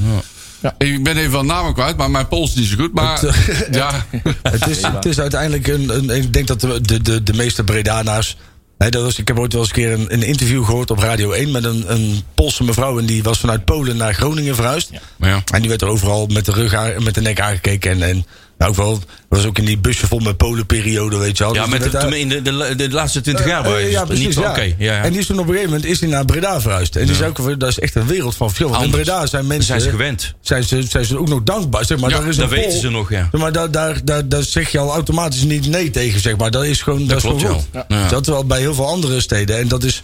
Ik ben even van namen kwijt, maar mijn Pools is niet zo goed. Maar
eh,
ja,
Het is, het is uiteindelijk een, een- Ik denk dat de, de, de, de meeste Bredana's. Hè, dat was, ik heb ooit wel eens een keer een, een interview gehoord op Radio 1 met een, een Poolse mevrouw. En die was vanuit Polen naar Groningen verhuisd.
Maar ja.
En die werd er overal met de rug aan- met de nek aangekeken. En, en nou, ook wel, was ook in die busje vol met Polenperiode, weet je wel.
Ja,
Dus
met
die
de,
werd daar-
in de, de, de laatste 20 jaar.
Eh,
waar je
ja, precies.
niet,
ja.
Oké, ja, ja.
En die is toen op een gegeven moment is die naar Breda verhuisd. En die is ook, dat is echt een wereld van verschil. Want in
Anders.
Breda zijn
Dan
mensen.
zijn ze gewend.
zijn ze, zijn ze ook nog dankbaar. Zeg maar,
Ja,
daar is
dat
een
weten
Pool-
ze nog, ja.
Zeg maar daar, daar, daar, daar zeg je al automatisch niet nee tegen, zeg maar. Dat is gewoon, dat is
klopt,
gewoon goed.
ja. Ja.
Dat wel bij heel veel andere steden. En dat is,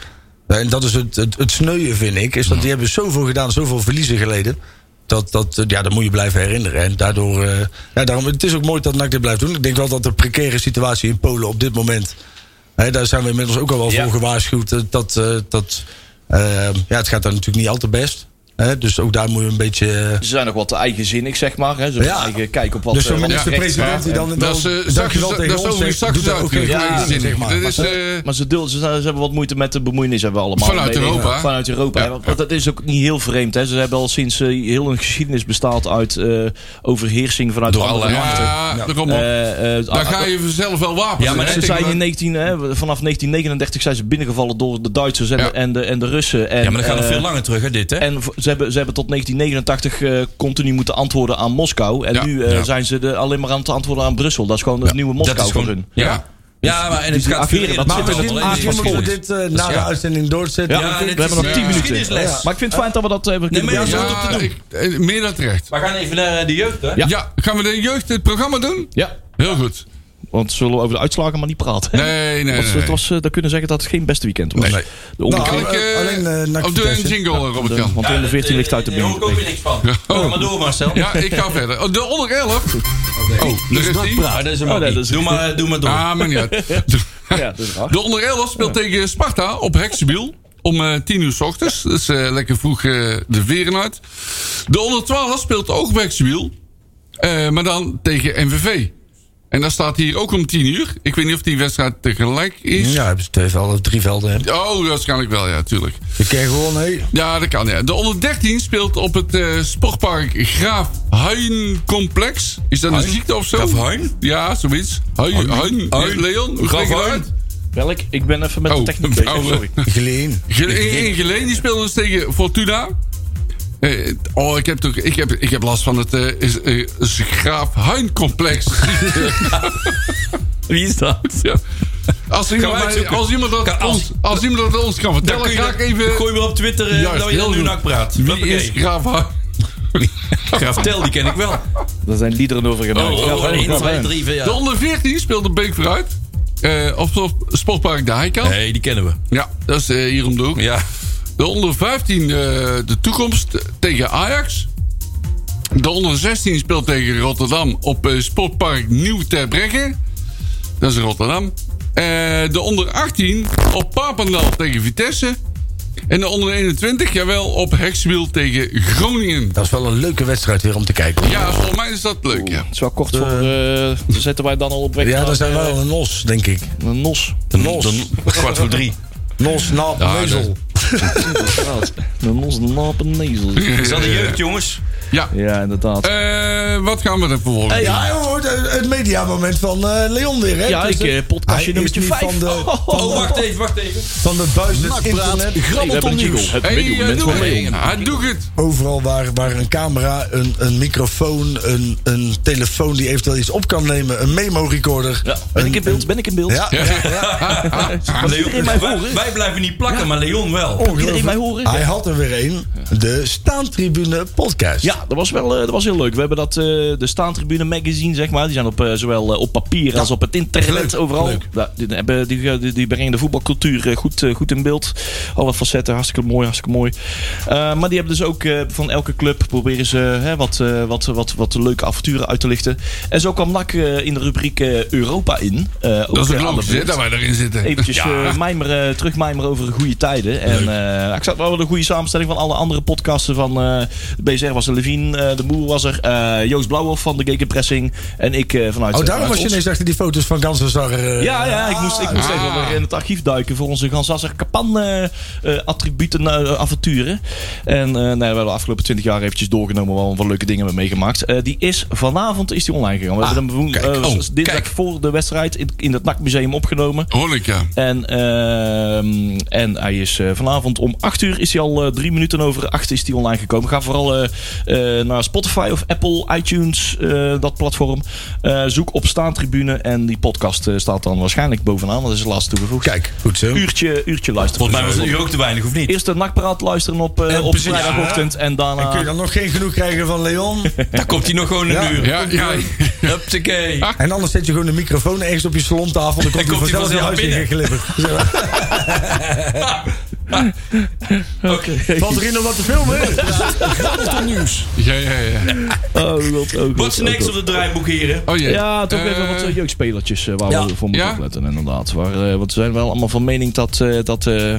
en dat is het, het, het sneuien, vind ik. Is dat die hebben zoveel gedaan, zoveel verliezen geleden. Dat, dat, eh, ja, dat moet je blijven herinneren. En daardoor, eh, ja, daarom, het is ook mooi dat NAC dit blijft doen. Ik denk wel dat de precaire situatie in Polen op dit moment... Hè, daar zijn we inmiddels ook al wel
Ja.
voor gewaarschuwd. eh, Dat, eh, dat, eh, ja, het gaat daar natuurlijk niet al te best. Hè, dus ook daar moet je een beetje... eh,
Ze zijn nog wat eigenzinnig, zeg maar. Hè. Ze hebben
Ja.
eigen kijk op wat...
dus
eh,
zo'n
wat
minister-president die dan...
Dat is
dan-
eh, straks-
dankjewel
dat
tegen
is
ons
overigens
zegt, doet
straks eh,
daar ook geen
geen
uitgelegd.
geen zin
Dit
in, maar-
is, eh,
Maar ze, dulden, ze, ze hebben wat moeite met de bemoeienis, hebben we allemaal.
Vanuit
Weet ik.
Europa.
Vanuit Europa. hè. Want dat is ook niet heel vreemd. Hè. Ze hebben al sinds eh, heel hun geschiedenis bestaat uit eh, overheersing vanuit
Door
andere
allerlei
machten.
Oh, ja, daar kom op.
Eh, eh,
Daar ga je vanzelf wel wapens.
Ja, maar
hè?
Ze
dat
Tegen
zijn
de-
in 19, hè, vanaf 1939 zijn ze binnengevallen door de Duitsers en,
Ja.
de, en, de, en de Russen. En,
ja, maar dan gaan we
eh,
veel langer terug, hè, dit, hè?
En v- ze hebben, ze hebben tot 1989 eh, continu moeten antwoorden aan Moskou. En
Ja.
nu eh,
Ja.
zijn ze de, alleen maar aan het antwoorden aan Brussel. Dat is gewoon het nieuwe Moskou
dat is gewoon...
voor hun.
Ja. ja, maar en het
die
gaat veel
ageren,
eerder.
dat
Maar
Het zit
misschien,
allemaal in
misschien
de
moeten we
geschiedenis.
dit eh, na de
ja.
uitzending doorzetten.
Ja,
Ja,
we
dit
hebben nog
is-
10
ja,
minuten.
geschiedenisles.
Ja. Maar ik vind het fijn dat we dat hebben kunnen
Nee, maar
doen.
dat is
Ja,
goed om te
ik- eh, meer dan terecht.
We gaan even naar eh, de jeugd, hè?
Ja. gaan we de jeugd het programma doen?
Ja,
Heel goed.
want zullen we over de uitslagen maar niet praten. hè?
Nee, nee,
Want
nee.
het was, eh, dan kunnen we zeggen dat het geen beste weekend was.
Nee. Nou,
De onderkant-
Kan ik,
Nou,
eh,
alleen, eh, Nac
of doe een
Vitesse.
jingle, Robert
de-
Jan?
want onder 14 ligt uit de
Daar hoor ik eh, ook
binnen.
weer niks van. Ga maar door, Marcel.
Ja, ik ga verder. Oh, De onder 11.
Dus
Oh, daar is die.
Ah, dat is een
Oh, nee,
makkie.
dat is-
Doe maar, eh, doe maar door.
Ah, maar niet uit.
Ja, dat is raar.
De onder 11 speelt tegen Sparta op Heksenbiel. Om eh 10 uur s ochtends. Dus eh, lekker vroeg eh, de veren uit. De onder 12 speelt ook op Heksenbiel. Eh, maar dan tegen MVV. En dat staat hier ook om 10 uur. Ik weet niet of die wedstrijd tegelijk is.
Ja, hebben ze twee velden, drie velden. hè.
Oh, waarschijnlijk wel, ja, tuurlijk.
Je kan gewoon, hé.
Ja, dat kan. Ja. De onder 13 speelt op het eh, sportpark Graaf Huin Complex. Is dat een ziekte of zo?
Graaf Huin?
Ja, zoiets. Huin. Huin.
Huin.
Leon, hoe
Graaf
spreek je dat
Huin.
uit?
Welk? Ik ben even met de
Oh,
techniek
een
bezig.
oude-
Sorry.
eh. Geleen.
Gele- in Geleen, die speelde dus tegen Fortuna. Eh, oh, ik heb, toch, ik, heb, ik heb last van het eh, is- eh, is Graaf Huin Complex.
Wie is dat?
ja. Als iemand, mij,
uitzoeken.
als, iemand dat
Kan- als-
ons, als iemand dat ons kan
Dan
vertellen,
kun je
ga ik
dat-
even...
Gooi me op Twitter eh,
Juist,
dat je
heel
dan nu
goed.
nak praat.
Wie
Hoppakee.
is Graaf Huin?
Graaf Tel, die ken ik wel.
Daar zijn liederen over
Oh,
gemaakt. Ja,
oh, 1,
ja,
2,
ja.
3,
De
4.
onder 14 speelde Beek vooruit. Eh, op het sportpark de Heikant.
Nee, die kennen we.
Ja, dat is eh, hier om de hoek.
Ja.
De onder 15 eh, de toekomst tegen Ajax. De onder 16 speelt tegen Rotterdam op eh, sportpark Nieuw Terbregge. Dat is in Rotterdam. Eh, de onder 18 op Papendal tegen Vitesse. En de onder 21, jawel, op Hekswiel tegen Groningen.
Dat is wel een leuke wedstrijd weer om te kijken.
Ja, volgens mij is dat leuk, ja.
Het is wel kort voor... eh, dan zetten wij dan al op weg
Ja,
naar,
daar zijn
eh,
we wel een nos, denk ik.
Een nos.
Nos. Kwart voor drie.
Nos, nap,
Ja,
neuzel.
dat-
Inderdaad. We moesten lappen nezels.
Is dat de jeugd, jongens?
Ja.
Ja, inderdaad.
Eh, wat gaan we er vervolgens doen?
Ja, hij hoort het het mediamoment van eh, Leon weer, hè?
Ja,
Dus
ik
dat-
eh, podcastje
Hij is
nummertje
niet
5.
van de-
Oh, wacht even, wacht even.
van de buis des
Nakpraat,
internet.
grabbelt om nieuws.
Het
Hey,
hey,
eh,
moment
doe
van
het.
Leon.
Hij doet het.
Overal waar, waar een camera, een, een microfoon, een, een telefoon die eventueel iets op kan nemen, een memo-recorder.
Ja, ben
een-
ik in beeld? Ben ik in beeld?
Ja, ja,
Leon,
mij voor,
wij,
hè?
wij blijven niet plakken, maar Leon wel.
Oh,
iedereen mij horen?
Hij had er weer een. De Staantribune podcast. Oh,
Ja, dat was wel eh, dat was heel leuk. We hebben dat, eh, de Staantribune magazine, zeg maar. Die zijn op, eh, zowel eh, op papier als op het internet overal. Ja, die, hebben- die, die, die brengen de voetbalcultuur eh, goed, eh, goed in beeld. Alle facetten, hartstikke mooi, hartstikke mooi. Eh, maar die hebben dus ook eh, van elke club proberen ze hè, wat, eh, wat, wat, wat leuke avonturen uit te lichten. En zo kwam NAC eh, in de rubriek eh, Europa in. Eh, ook,
Dat is
eh,
ook
aan de
logisch hè,
beurt
dat wij erin zitten.
eventjes
Ja.
eh, mijmeren, terugmijmeren over de goede tijden. En eh, ik zat wel een goede samenstelling van alle andere podcasten. Van eh, de BCR was er, Levine, eh, de Boer was er, eh, Joost Blauwhoff van de Geken Pressing en ik eh, vanuit...
Oh, daarom
vanuit
was je
ons.
ineens achter die foto's van Gansenzar. eh,
Ja, ja, ik moest, ik moest even weer in het archief duiken voor onze Gansasser Kapan eh, eh, attributen, eh, avonturen. En eh, nou, we hebben de afgelopen 20 jaar eventjes doorgenomen waar we wat leuke dingen hebben meegemaakt. Eh, die is vanavond is die online gegaan. We
Ah,
hebben hem woen-
kijk.
eh,
Oh,
dinsdag
kijk.
voor de wedstrijd in, in het NAC Museum opgenomen.
Hoor ik, ja.
En, ehm, en hij is eh, vanavond om 8 uur, is hij al eh, drie minuten over 8 is hij online gekomen. Ga vooral eh, eh, naar Spotify of Apple, iTunes, eh, dat platform. Eh, zoek op Staantribune en die podcast eh, staat dan waarschijnlijk bovenaan, want dat is de laatste toegevoegd.
Kijk, goed zo.
Uurtje, uurtje luisteren.
Volgens mij was het nu ook te weinig, of niet?
Eerst de nakpraat luisteren op, eh,
En
op
precies,
vrijdagochtend en
En kun je
daarna...
dan nog geen genoeg krijgen van Leon?
Daar komt hij nog gewoon een
Ja.
uur.
Ja, ja.
Hupsakee.
En anders zet je gewoon de microfoon ergens op je salontafel. Dan komt hij
komt hij
vanzelf je
vanzelf
huis in glibberen. Valt erin om wat te filmen?
nieuws.
Ja, ja, ja.
Oh, god, oh, god,
What's
oh,
next
god.
op de draaiboek, heren?
Oh jee.
Ja, toch even
Eh,
wat eh, jeugdspelertjes eh, waar
ja.
we voor moeten
Ja.
opletten, inderdaad. Waar, eh, want we zijn wel allemaal van mening dat, eh, dat eh,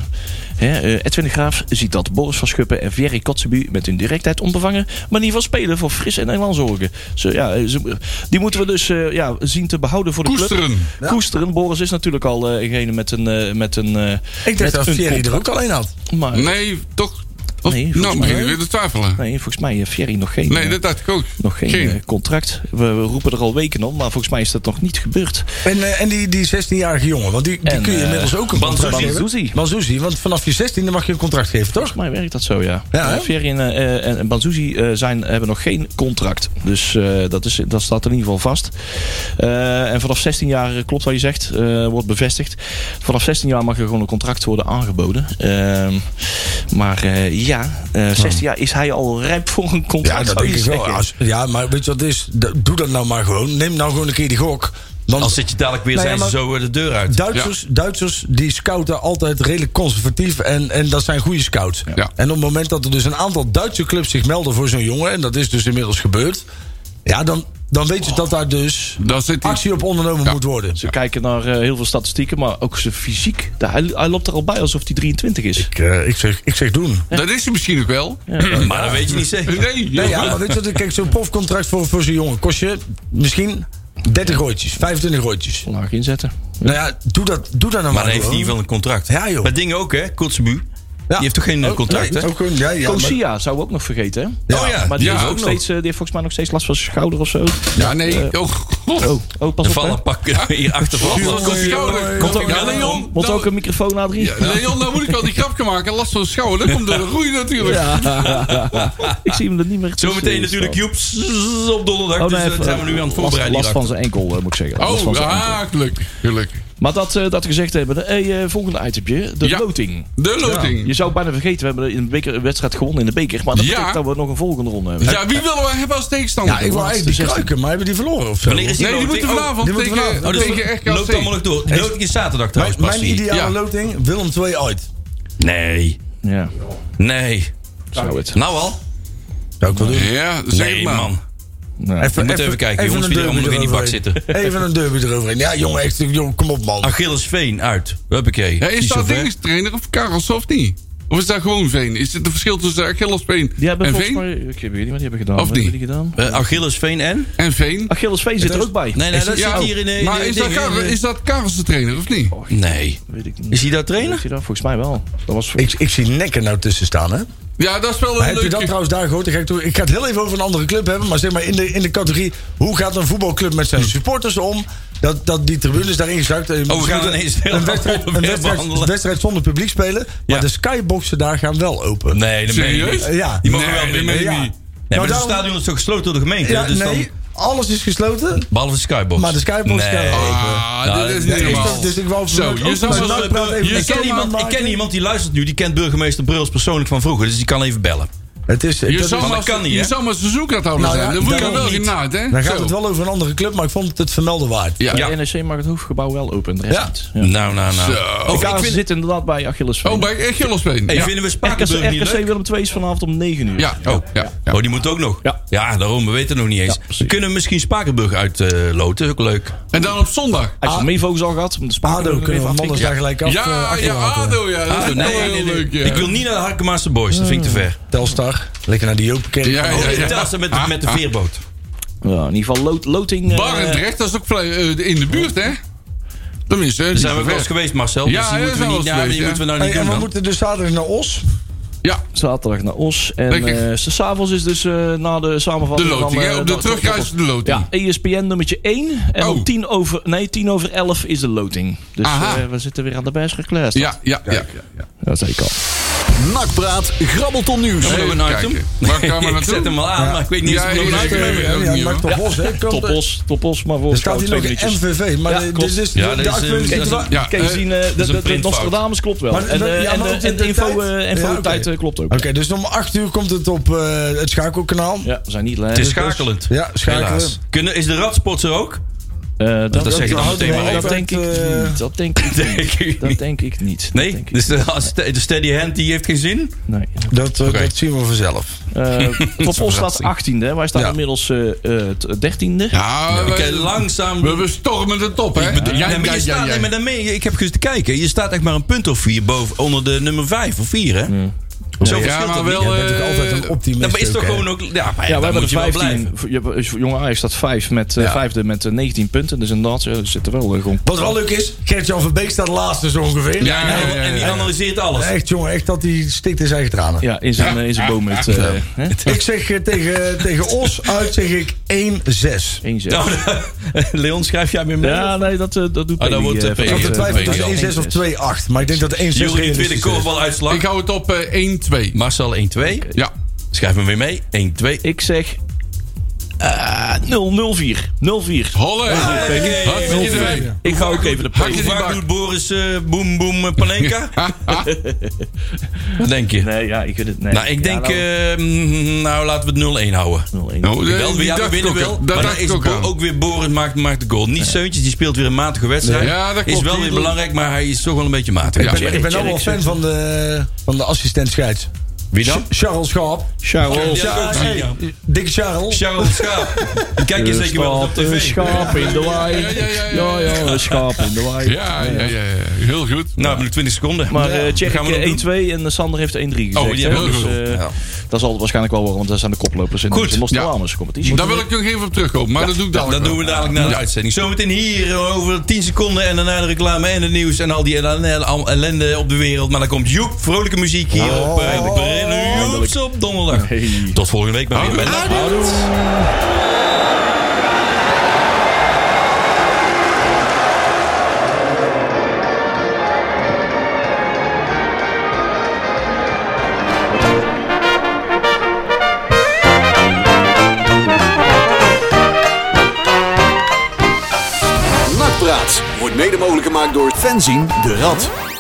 hè, eh, Edwin de Graaf ziet dat Boris van Schuppen en Thierry Kotzebu met hun directheid onbevangen manier van spelen voor fris en Nederland zorgen. Zo, ja, eh, ze- die moeten we dus eh, ja, zien te behouden voor de club.
Koesteren.
Koesteren. Boris is natuurlijk al eh degene met een. eh, met een eh,
Ik
met
dacht dat
een
Thierry er
kop.
ook alleen had.
Maar, nee.
Nee, toch. Of,
Nee, volgens
nou,
mij-
begin ik weer te twijfelen.
volgens mij heeft Thierry nog geen.
Nee,
eh,
dat dacht ik ook.
nog geen, eh, contract. We, we roepen er al weken om, maar volgens mij is dat nog niet gebeurd.
En, eh, en die, die 16-jarige jongen, want die, die
En,
kun je
eh,
inmiddels ook een contract
Banzuzi.
geven.
Banzuzi.
Banzuzi, want vanaf je 16e mag je een contract geven, toch?
Volgens mij werkt dat zo, ja.
Ja, hè?
Eh, Ferry en, eh, en, en Banzuzi eh, zijn, hebben nog geen contract. Dus eh, dat, is, dat staat in ieder geval vast. Eh, en vanaf 16 jaar, eh, klopt wat je zegt, eh, wordt bevestigd. Vanaf 16 jaar mag er gewoon een contract worden aangeboden. Ehm, maar eh, ja, eh, 16 jaar is hij al rijp voor een contract.
Ja, dat
zou
denk ik
je
wel.
zeggen.
Als- ja, maar weet je wat het is? D- Doe dat nou maar gewoon. Neem nou gewoon een keer die gok. Want
Als zit je dadelijk weer,
Nou ja,
zijn ze
maar-
zo eh, de deur uit.
Duitsers, Duitsers die scouten altijd redelijk conservatief. En, en dat zijn goede scouts.
Ja.
En op het moment dat er dus een aantal Duitse clubs zich melden voor zo'n jongen. En dat is dus inmiddels gebeurd. Ja, dan, dan weet je dat daar dus
Dan zit hij.
actie op ondernomen moet worden.
Ze kijken naar eh, heel veel statistieken, maar ook zijn fysiek. Daar- Hij, hij loopt er al bij alsof hij 23 is.
Ik, eh, ik, zeg, ik zeg doen.
Dat is hij misschien ook wel.
Maar dat weet je niet zeker.
Nee,
Nee, ja, maar weet je wat? Kijk, zo'n profcontract voor, voor zo'n jongen kost je misschien 30 rooitjes, 25 rooitjes.
Laag inzetten.
Nou ja, doe dat, doe dat nou
Maar
maar.
dan heeft hij in ieder geval een contract.
Ja, joh. Oh,
Maar dingen ook, hè? Kotzebu. Die heeft toch geen eh, contract, hè?
Ook gewoon, ja, ja, maar-
Kosia zouden we ook nog vergeten, hè?
Oh ja,
Maar die,
Ja,
heeft ook
ook nog.
steeds, eh, die heeft volgens mij nog steeds last van zijn schouder of zo.
Ja, nee. Oh, god.
Oh, oh
dan
pas op. hè.
vallen pakken hier achter van.
Jongen,
Komt hij
jongen,
ook?
jongen.
Komt hij
Ja,
ook?
Leon.
Moet
Nou-
ook een microfoon naar drie.
Ja, Leon, nou moet ik al die grapje maken. Last van de schouder. Dat komt door de groei natuurlijk.
Ik zie hem er niet meer tussen
Zometeen
staan.
natuurlijk Joep zzzz, op donderdag.
Oh,
dus
nee,
dat zijn we nu aan het
last,
voorbereiden.
last van
hierachter.
zijn enkel, eh, moet ik zeggen. Last van
Oh,
zijn enkel.
ah, gelukkig. gelukkig.
Maar dat, eh, dat gezegd hebben, hey, eh, volgende itemje, de
Ja.
loting.
De
Je
loting.
zou bijna vergeten, we hebben in de beker, een wedstrijd gewonnen in de beker. Maar dat
Ja.
betekent dat we nog een volgende ronde hebben.
Ja, wie willen we hebben als tegenstander?
Ja, ik wil eigenlijk die kruiken, maar hebben die verloren of zo?
Wanneer is die
nee, die
loting?
moeten
Oh,
vanavond
die moeten
tegen,
vanavond.
tegen
dus
RKC.
Loopt allemaal nog door. De loting is zaterdag
Mijn,
trouwens pas.
mijn
zie je.
ideale
Ja.
loting, Willem 2 uit.
Nee.
Ja,
Nee.
zou het.
Nou al?
Zou ik wel doen.
Ja, zeg
Nee,
maar.
man.
Nou,
We moeten even kijken, jongens, wie er allemaal nog in die bak
eroverheen.
zitten.
Even een derby eroverheen. Ja, jongen, echt, jongen, kom op, man.
Achillesveen uit. Huppakee.
Ja, is
Niet zo
dat
ver.
training of Karels of niet? Of is dat gewoon Veen? Is het een verschil tussen Achillesveen
die hebben
en
volgens
Veen?
mij... Ik weet niet wat die hebben gedaan.
Of
Wat hebben die
niet?
gedaan?
Eh, Achillesveen en?
En Veen?
Achilles Veen zit er ook bij.
Nee, nee, dat zit
Ja,
hier in de... in eh, Oh.
maar
de
is dat,
dingen.
Karel, is dat Karels de trainer of niet?
Nee.
Weet ik niet.
Is hij daar trainer?
Is hij dat? Volgens mij wel. Dat was...
Ik, ik zie nekken nou tussen staan, hè?
Ja, dat is wel
Maar
een
heb je dat
leuke...
trouwens daar gehoord? Dan ga Ik, toe- ik ga het heel even over een andere club hebben. Maar zeg maar in de, in de categorie... hoe gaat een voetbalclub met zijn supporters om... dat, dat die tribunes daarin gezakt... Oh,
we gaan ineens heel
een, wedstrijd,
ander
een
onderwerp
wedstrijd,
behandelen.
wedstrijd zonder publiek spelen. Maar
Ja.
de skyboxen daar gaan wel open.
Nee, dat meen je
Serieus?
niet.
Eh, Ja.
Die mogen
Nee,
wel
dat meen
binnen.
ik
Ja.
niet.
Nee, maar
Nou,
het
daarom-
stadion is toch gesloten door de gemeente?
Ja,
dus
nee,
dan,
alles is gesloten.
behalve de skybox.
Maar de skybox
Nee.
kan open.
Ah,
Nou,
dit is
dat
niet
is
helemaal...
toch-
dus ik wou
Zo,
ook-
je zou
maar
wel-
nou
je
praat even de
kan
eh, Ik ken,
stem
iemand, ik
aanmaken.
ken iemand die luistert nu, die kent burgemeester Bruls persoonlijk van vroeger. Dus die kan even bellen.
Het is, dat
Je
is-
zou
dat
maar,
kan niet,
je
hè?
zou maar seizoenkaarthouder
Nou ja,
zijn. Dan moet je
daarom
wel
niet.
genaamd, hè?
dan gaat
Zo.
het wel over een andere club, maar ik vond het het vermelden waard.
Ja.
Ja.
NEC mag het hoofdgebouw wel open. De rest
Ja.
niet.
Nou, nou, nou.
Zo.
Oh, ik vind,
zit inderdaad bij Achilles.
Oh, bij eh, Gillespeen.
hey,
ja.
vinden we
RKC,
Spakenburg niet leuk?
Willem II is vanavond om 9 uur.
Ja, oh, ja. ja.
Oh, die moet ook nog.
Ja.
daarom, we weten het nog niet eens.
Ja, precies.
we kunnen misschien Spakenburg uitloten, is ook leuk.
En dan op zondag.
Hij heeft een meevogels al gehad. om De
ADO kunnen we mannen daar gelijk af. eh,
eh, Ja, ja,
achterlaten.
ADO, ja. Dat is
Ah,
ook wel
nee,
heel
nee, nee.
leuk, ja.
Ik wil niet naar de Harkemaarse Boys, dat vind ik te ver.
Telstar, lekker naar die Jopenkerk.
Ja,
Oh,
ja,
die
ja.
Telstra met, de-
Ah,
met de
ah.
veerboot.
Ja, in ieder geval Lot- Loting. eh,
Barendrecht, dat is ook vrij, eh, in de buurt, hè? Tenminste,
Daar zijn we ook wel eens geweest, Marcel.
Ja,
dus die
ja,
moeten we,
zijn we
niet,
wel
ja,
eens
die
geweest,
moeten we nou
Hey,
niet
en
doen. dan.
we moeten dus zaterdag naar Os.
Ja,
Zaterdag naar Os. En
Lekker.
eh, s s'avonds is dus eh, na de
de
samenvatting.
loting,
van, eh,
hè? Op de
dat-
terugreis de loting.
Ja, E ESPN nummertje 1. En
Oh.
om 10 over, nee, 10 over 11 is de loting. Dus
Aha.
eh, we zitten weer aan de best gekleurd.
Ja, ja, ja.
eh,
Dat zeker.
Nakpraat, grabbelton nieuws.
Zullen we
Even
een item?
kijken. Waar gaan we
eh, Ik
naartoe?
zet hem al aan, maar ik weet niet
Ja,
of we nog
hier
een
is
item
de-
hebben.
Ja,
eh, Ja,
ja,
ja, maar
ja.
toch Os, hè? Komt-
Top Os, top Os, maar
Er
volgens
staat hier
twee
Dus nog
minuutjes.
een MVV, maar
Ja,
de-
klopt.
dit is
Ja,
de,
dat is,
de
eh,
actuele-
dat is een-
Ja.
Ja,
Kijk,
eh,
we zien, eh, de,
is een
de- de
printfout.
Nostradamus klopt wel.
Maar-
en eh,
ja,
en,
maar
eh,
ook in
en
de
info,
tijd?
eh, info
Ja, oké.
tijd eh, klopt ook.
Oké, dus om 8 uur komt het op eh, het schakelkanaal.
Ja, we zijn niet
Het is
lekker.
schakelend.
Ja, schakelen.
Helaas. Kunnen, is de radspot er ook?
Eh, dat,
dat zeg je dan meteen maar
dat
even.
denk ik
Eh,
niet. Dat denk ik
Denk
niet.
ik
Dat
niet.
denk ik niet. Dat
Nee?
denk ik
Dus de, als de de steady hand die heeft geen zin?
niet. Nee.
Dat, eh,
Oké.
dat zien we vanzelf.
Eh, Top Os staat 18e. hè. Wij staan
Ja.
inmiddels eh eh, t- 13e.
Ja,
Oké,
we-
langzaam.
we, we stormen de top, hè?
Nee, maar je staat, nee, maar dan meen je- ik heb gezeten kijken. Je staat echt maar een punt of vier boven, onder de nummer vijf of vier, hè? Zo verschilt
Ja,
dat niet.
maar wel...
Je bent natuurlijk
eh,
altijd een optimist.
Dat is
ook,
toch
hè?
gewoon ook... Ja,
Ja,
maar ja,
we
dan
hebben
moet
er
je wel blijven.
15. Je hebt- is- Jonge Ajax staat 5 met eh,
Ja.
vijfde met eh, 19 punten. Dus inderdaad, eh, er zitten wel eh, gewoon...
Wat wel leuk is, Gert-Jan van Beek staat laatste zo ongeveer.
Ja, ja, ja,
En die
ja.
analyseert alles.
Echt jongen, echt dat hij stikt in zijn eigen tranen.
Ja, in zijn, eh, in zijn boom met... eh, hè?
Ik zeg eh, tegen, tegen Os uit zeg ik 1-6.
1-6.
Nou, Leon, schrijf jij weer mee?
Ja, nee, dat, eh, dat doet
Ah, dan
Peli,
wordt
eh,
het
van-
een
Ik had
Ja,
de
weet
twijfel
ik wel.
tussen 1-6 of 2-8. Maar ik denk dat 1-6
Jury tweede
realistisch is.
kopbal uitslag.
Ik hou het op eh, 1-2.
Marcel 1-2.
Ja.
Schrijf hem weer mee. 1-2.
Ik zeg... eh, 0-0-4. 0-4.
Holle. Hartstikke idee.
Ik ga ook even de
Hak
Hoe
je die
vaak
bak.
doet Boris eh boem boem eh, Panenka? Wat denk je?
Nee, ja, ik weet het. Nee.
Nou, ik
Ja,
denk,
nou,
eh, Oh, mm, nou laten we het 0-1 houden.
0-1.
Nou, eh,
Wel,
die
ja, we
dacht
winnen
ik ook
wel.
aan.
maar
Daar
dan
dacht
is
ik ook
Bo-
aan.
ook weer Boris maakt, maakt de goal. Niet Seuntjes, die speelt weer een matige wedstrijd.
Ja, dat klopt.
Is wel weer belangrijk, maar hij is toch wel een beetje matig.
Ja.
Ja.
Ik ben ook wel fan van de, van de assistent scheids.
Wie dan?
Charles Schaap.
Charles.
Ja, dat is ook
hey,
Jan.
Dikke Charles.
Charles Schaap. Die Kijk je
Er
zeker wel op
staat een
tv.
schaap in de wei.
Ja, ja, ja, ja,
Ja, ja, een schaap in de wei.
Ja, ja, ja, ja. Heel goed.
Nou, nu 20 seconden.
Maar eh Tjerk
Gaan we dat doen? Oh,
1-2 en eh, Sander heeft 1-3 gezegd.
die
hè.
hebben we
dus,
ook
eh, Dat zal het waarschijnlijk wel worden, want dat zijn de koplopers in
Goed,
de Nostradamus competitie.
Daar wil ik nog even op terugkomen, maar dat doe ik
Dat,
dadelijk
dat doen we
wel.
dadelijk na de uitzending. Zometeen hier eh, over 10 seconden en daarna de reclame en het nieuws en al die ellende- al- ellende op de wereld. Maar dan komt Joep, vrolijke muziek hier op eh, Brenner Joeps op donderdag.
Hey.
Tot volgende week maar weer. Met Nacht.
Nakpraat wordt mede mogelijk gemaakt door fanzine de Rad.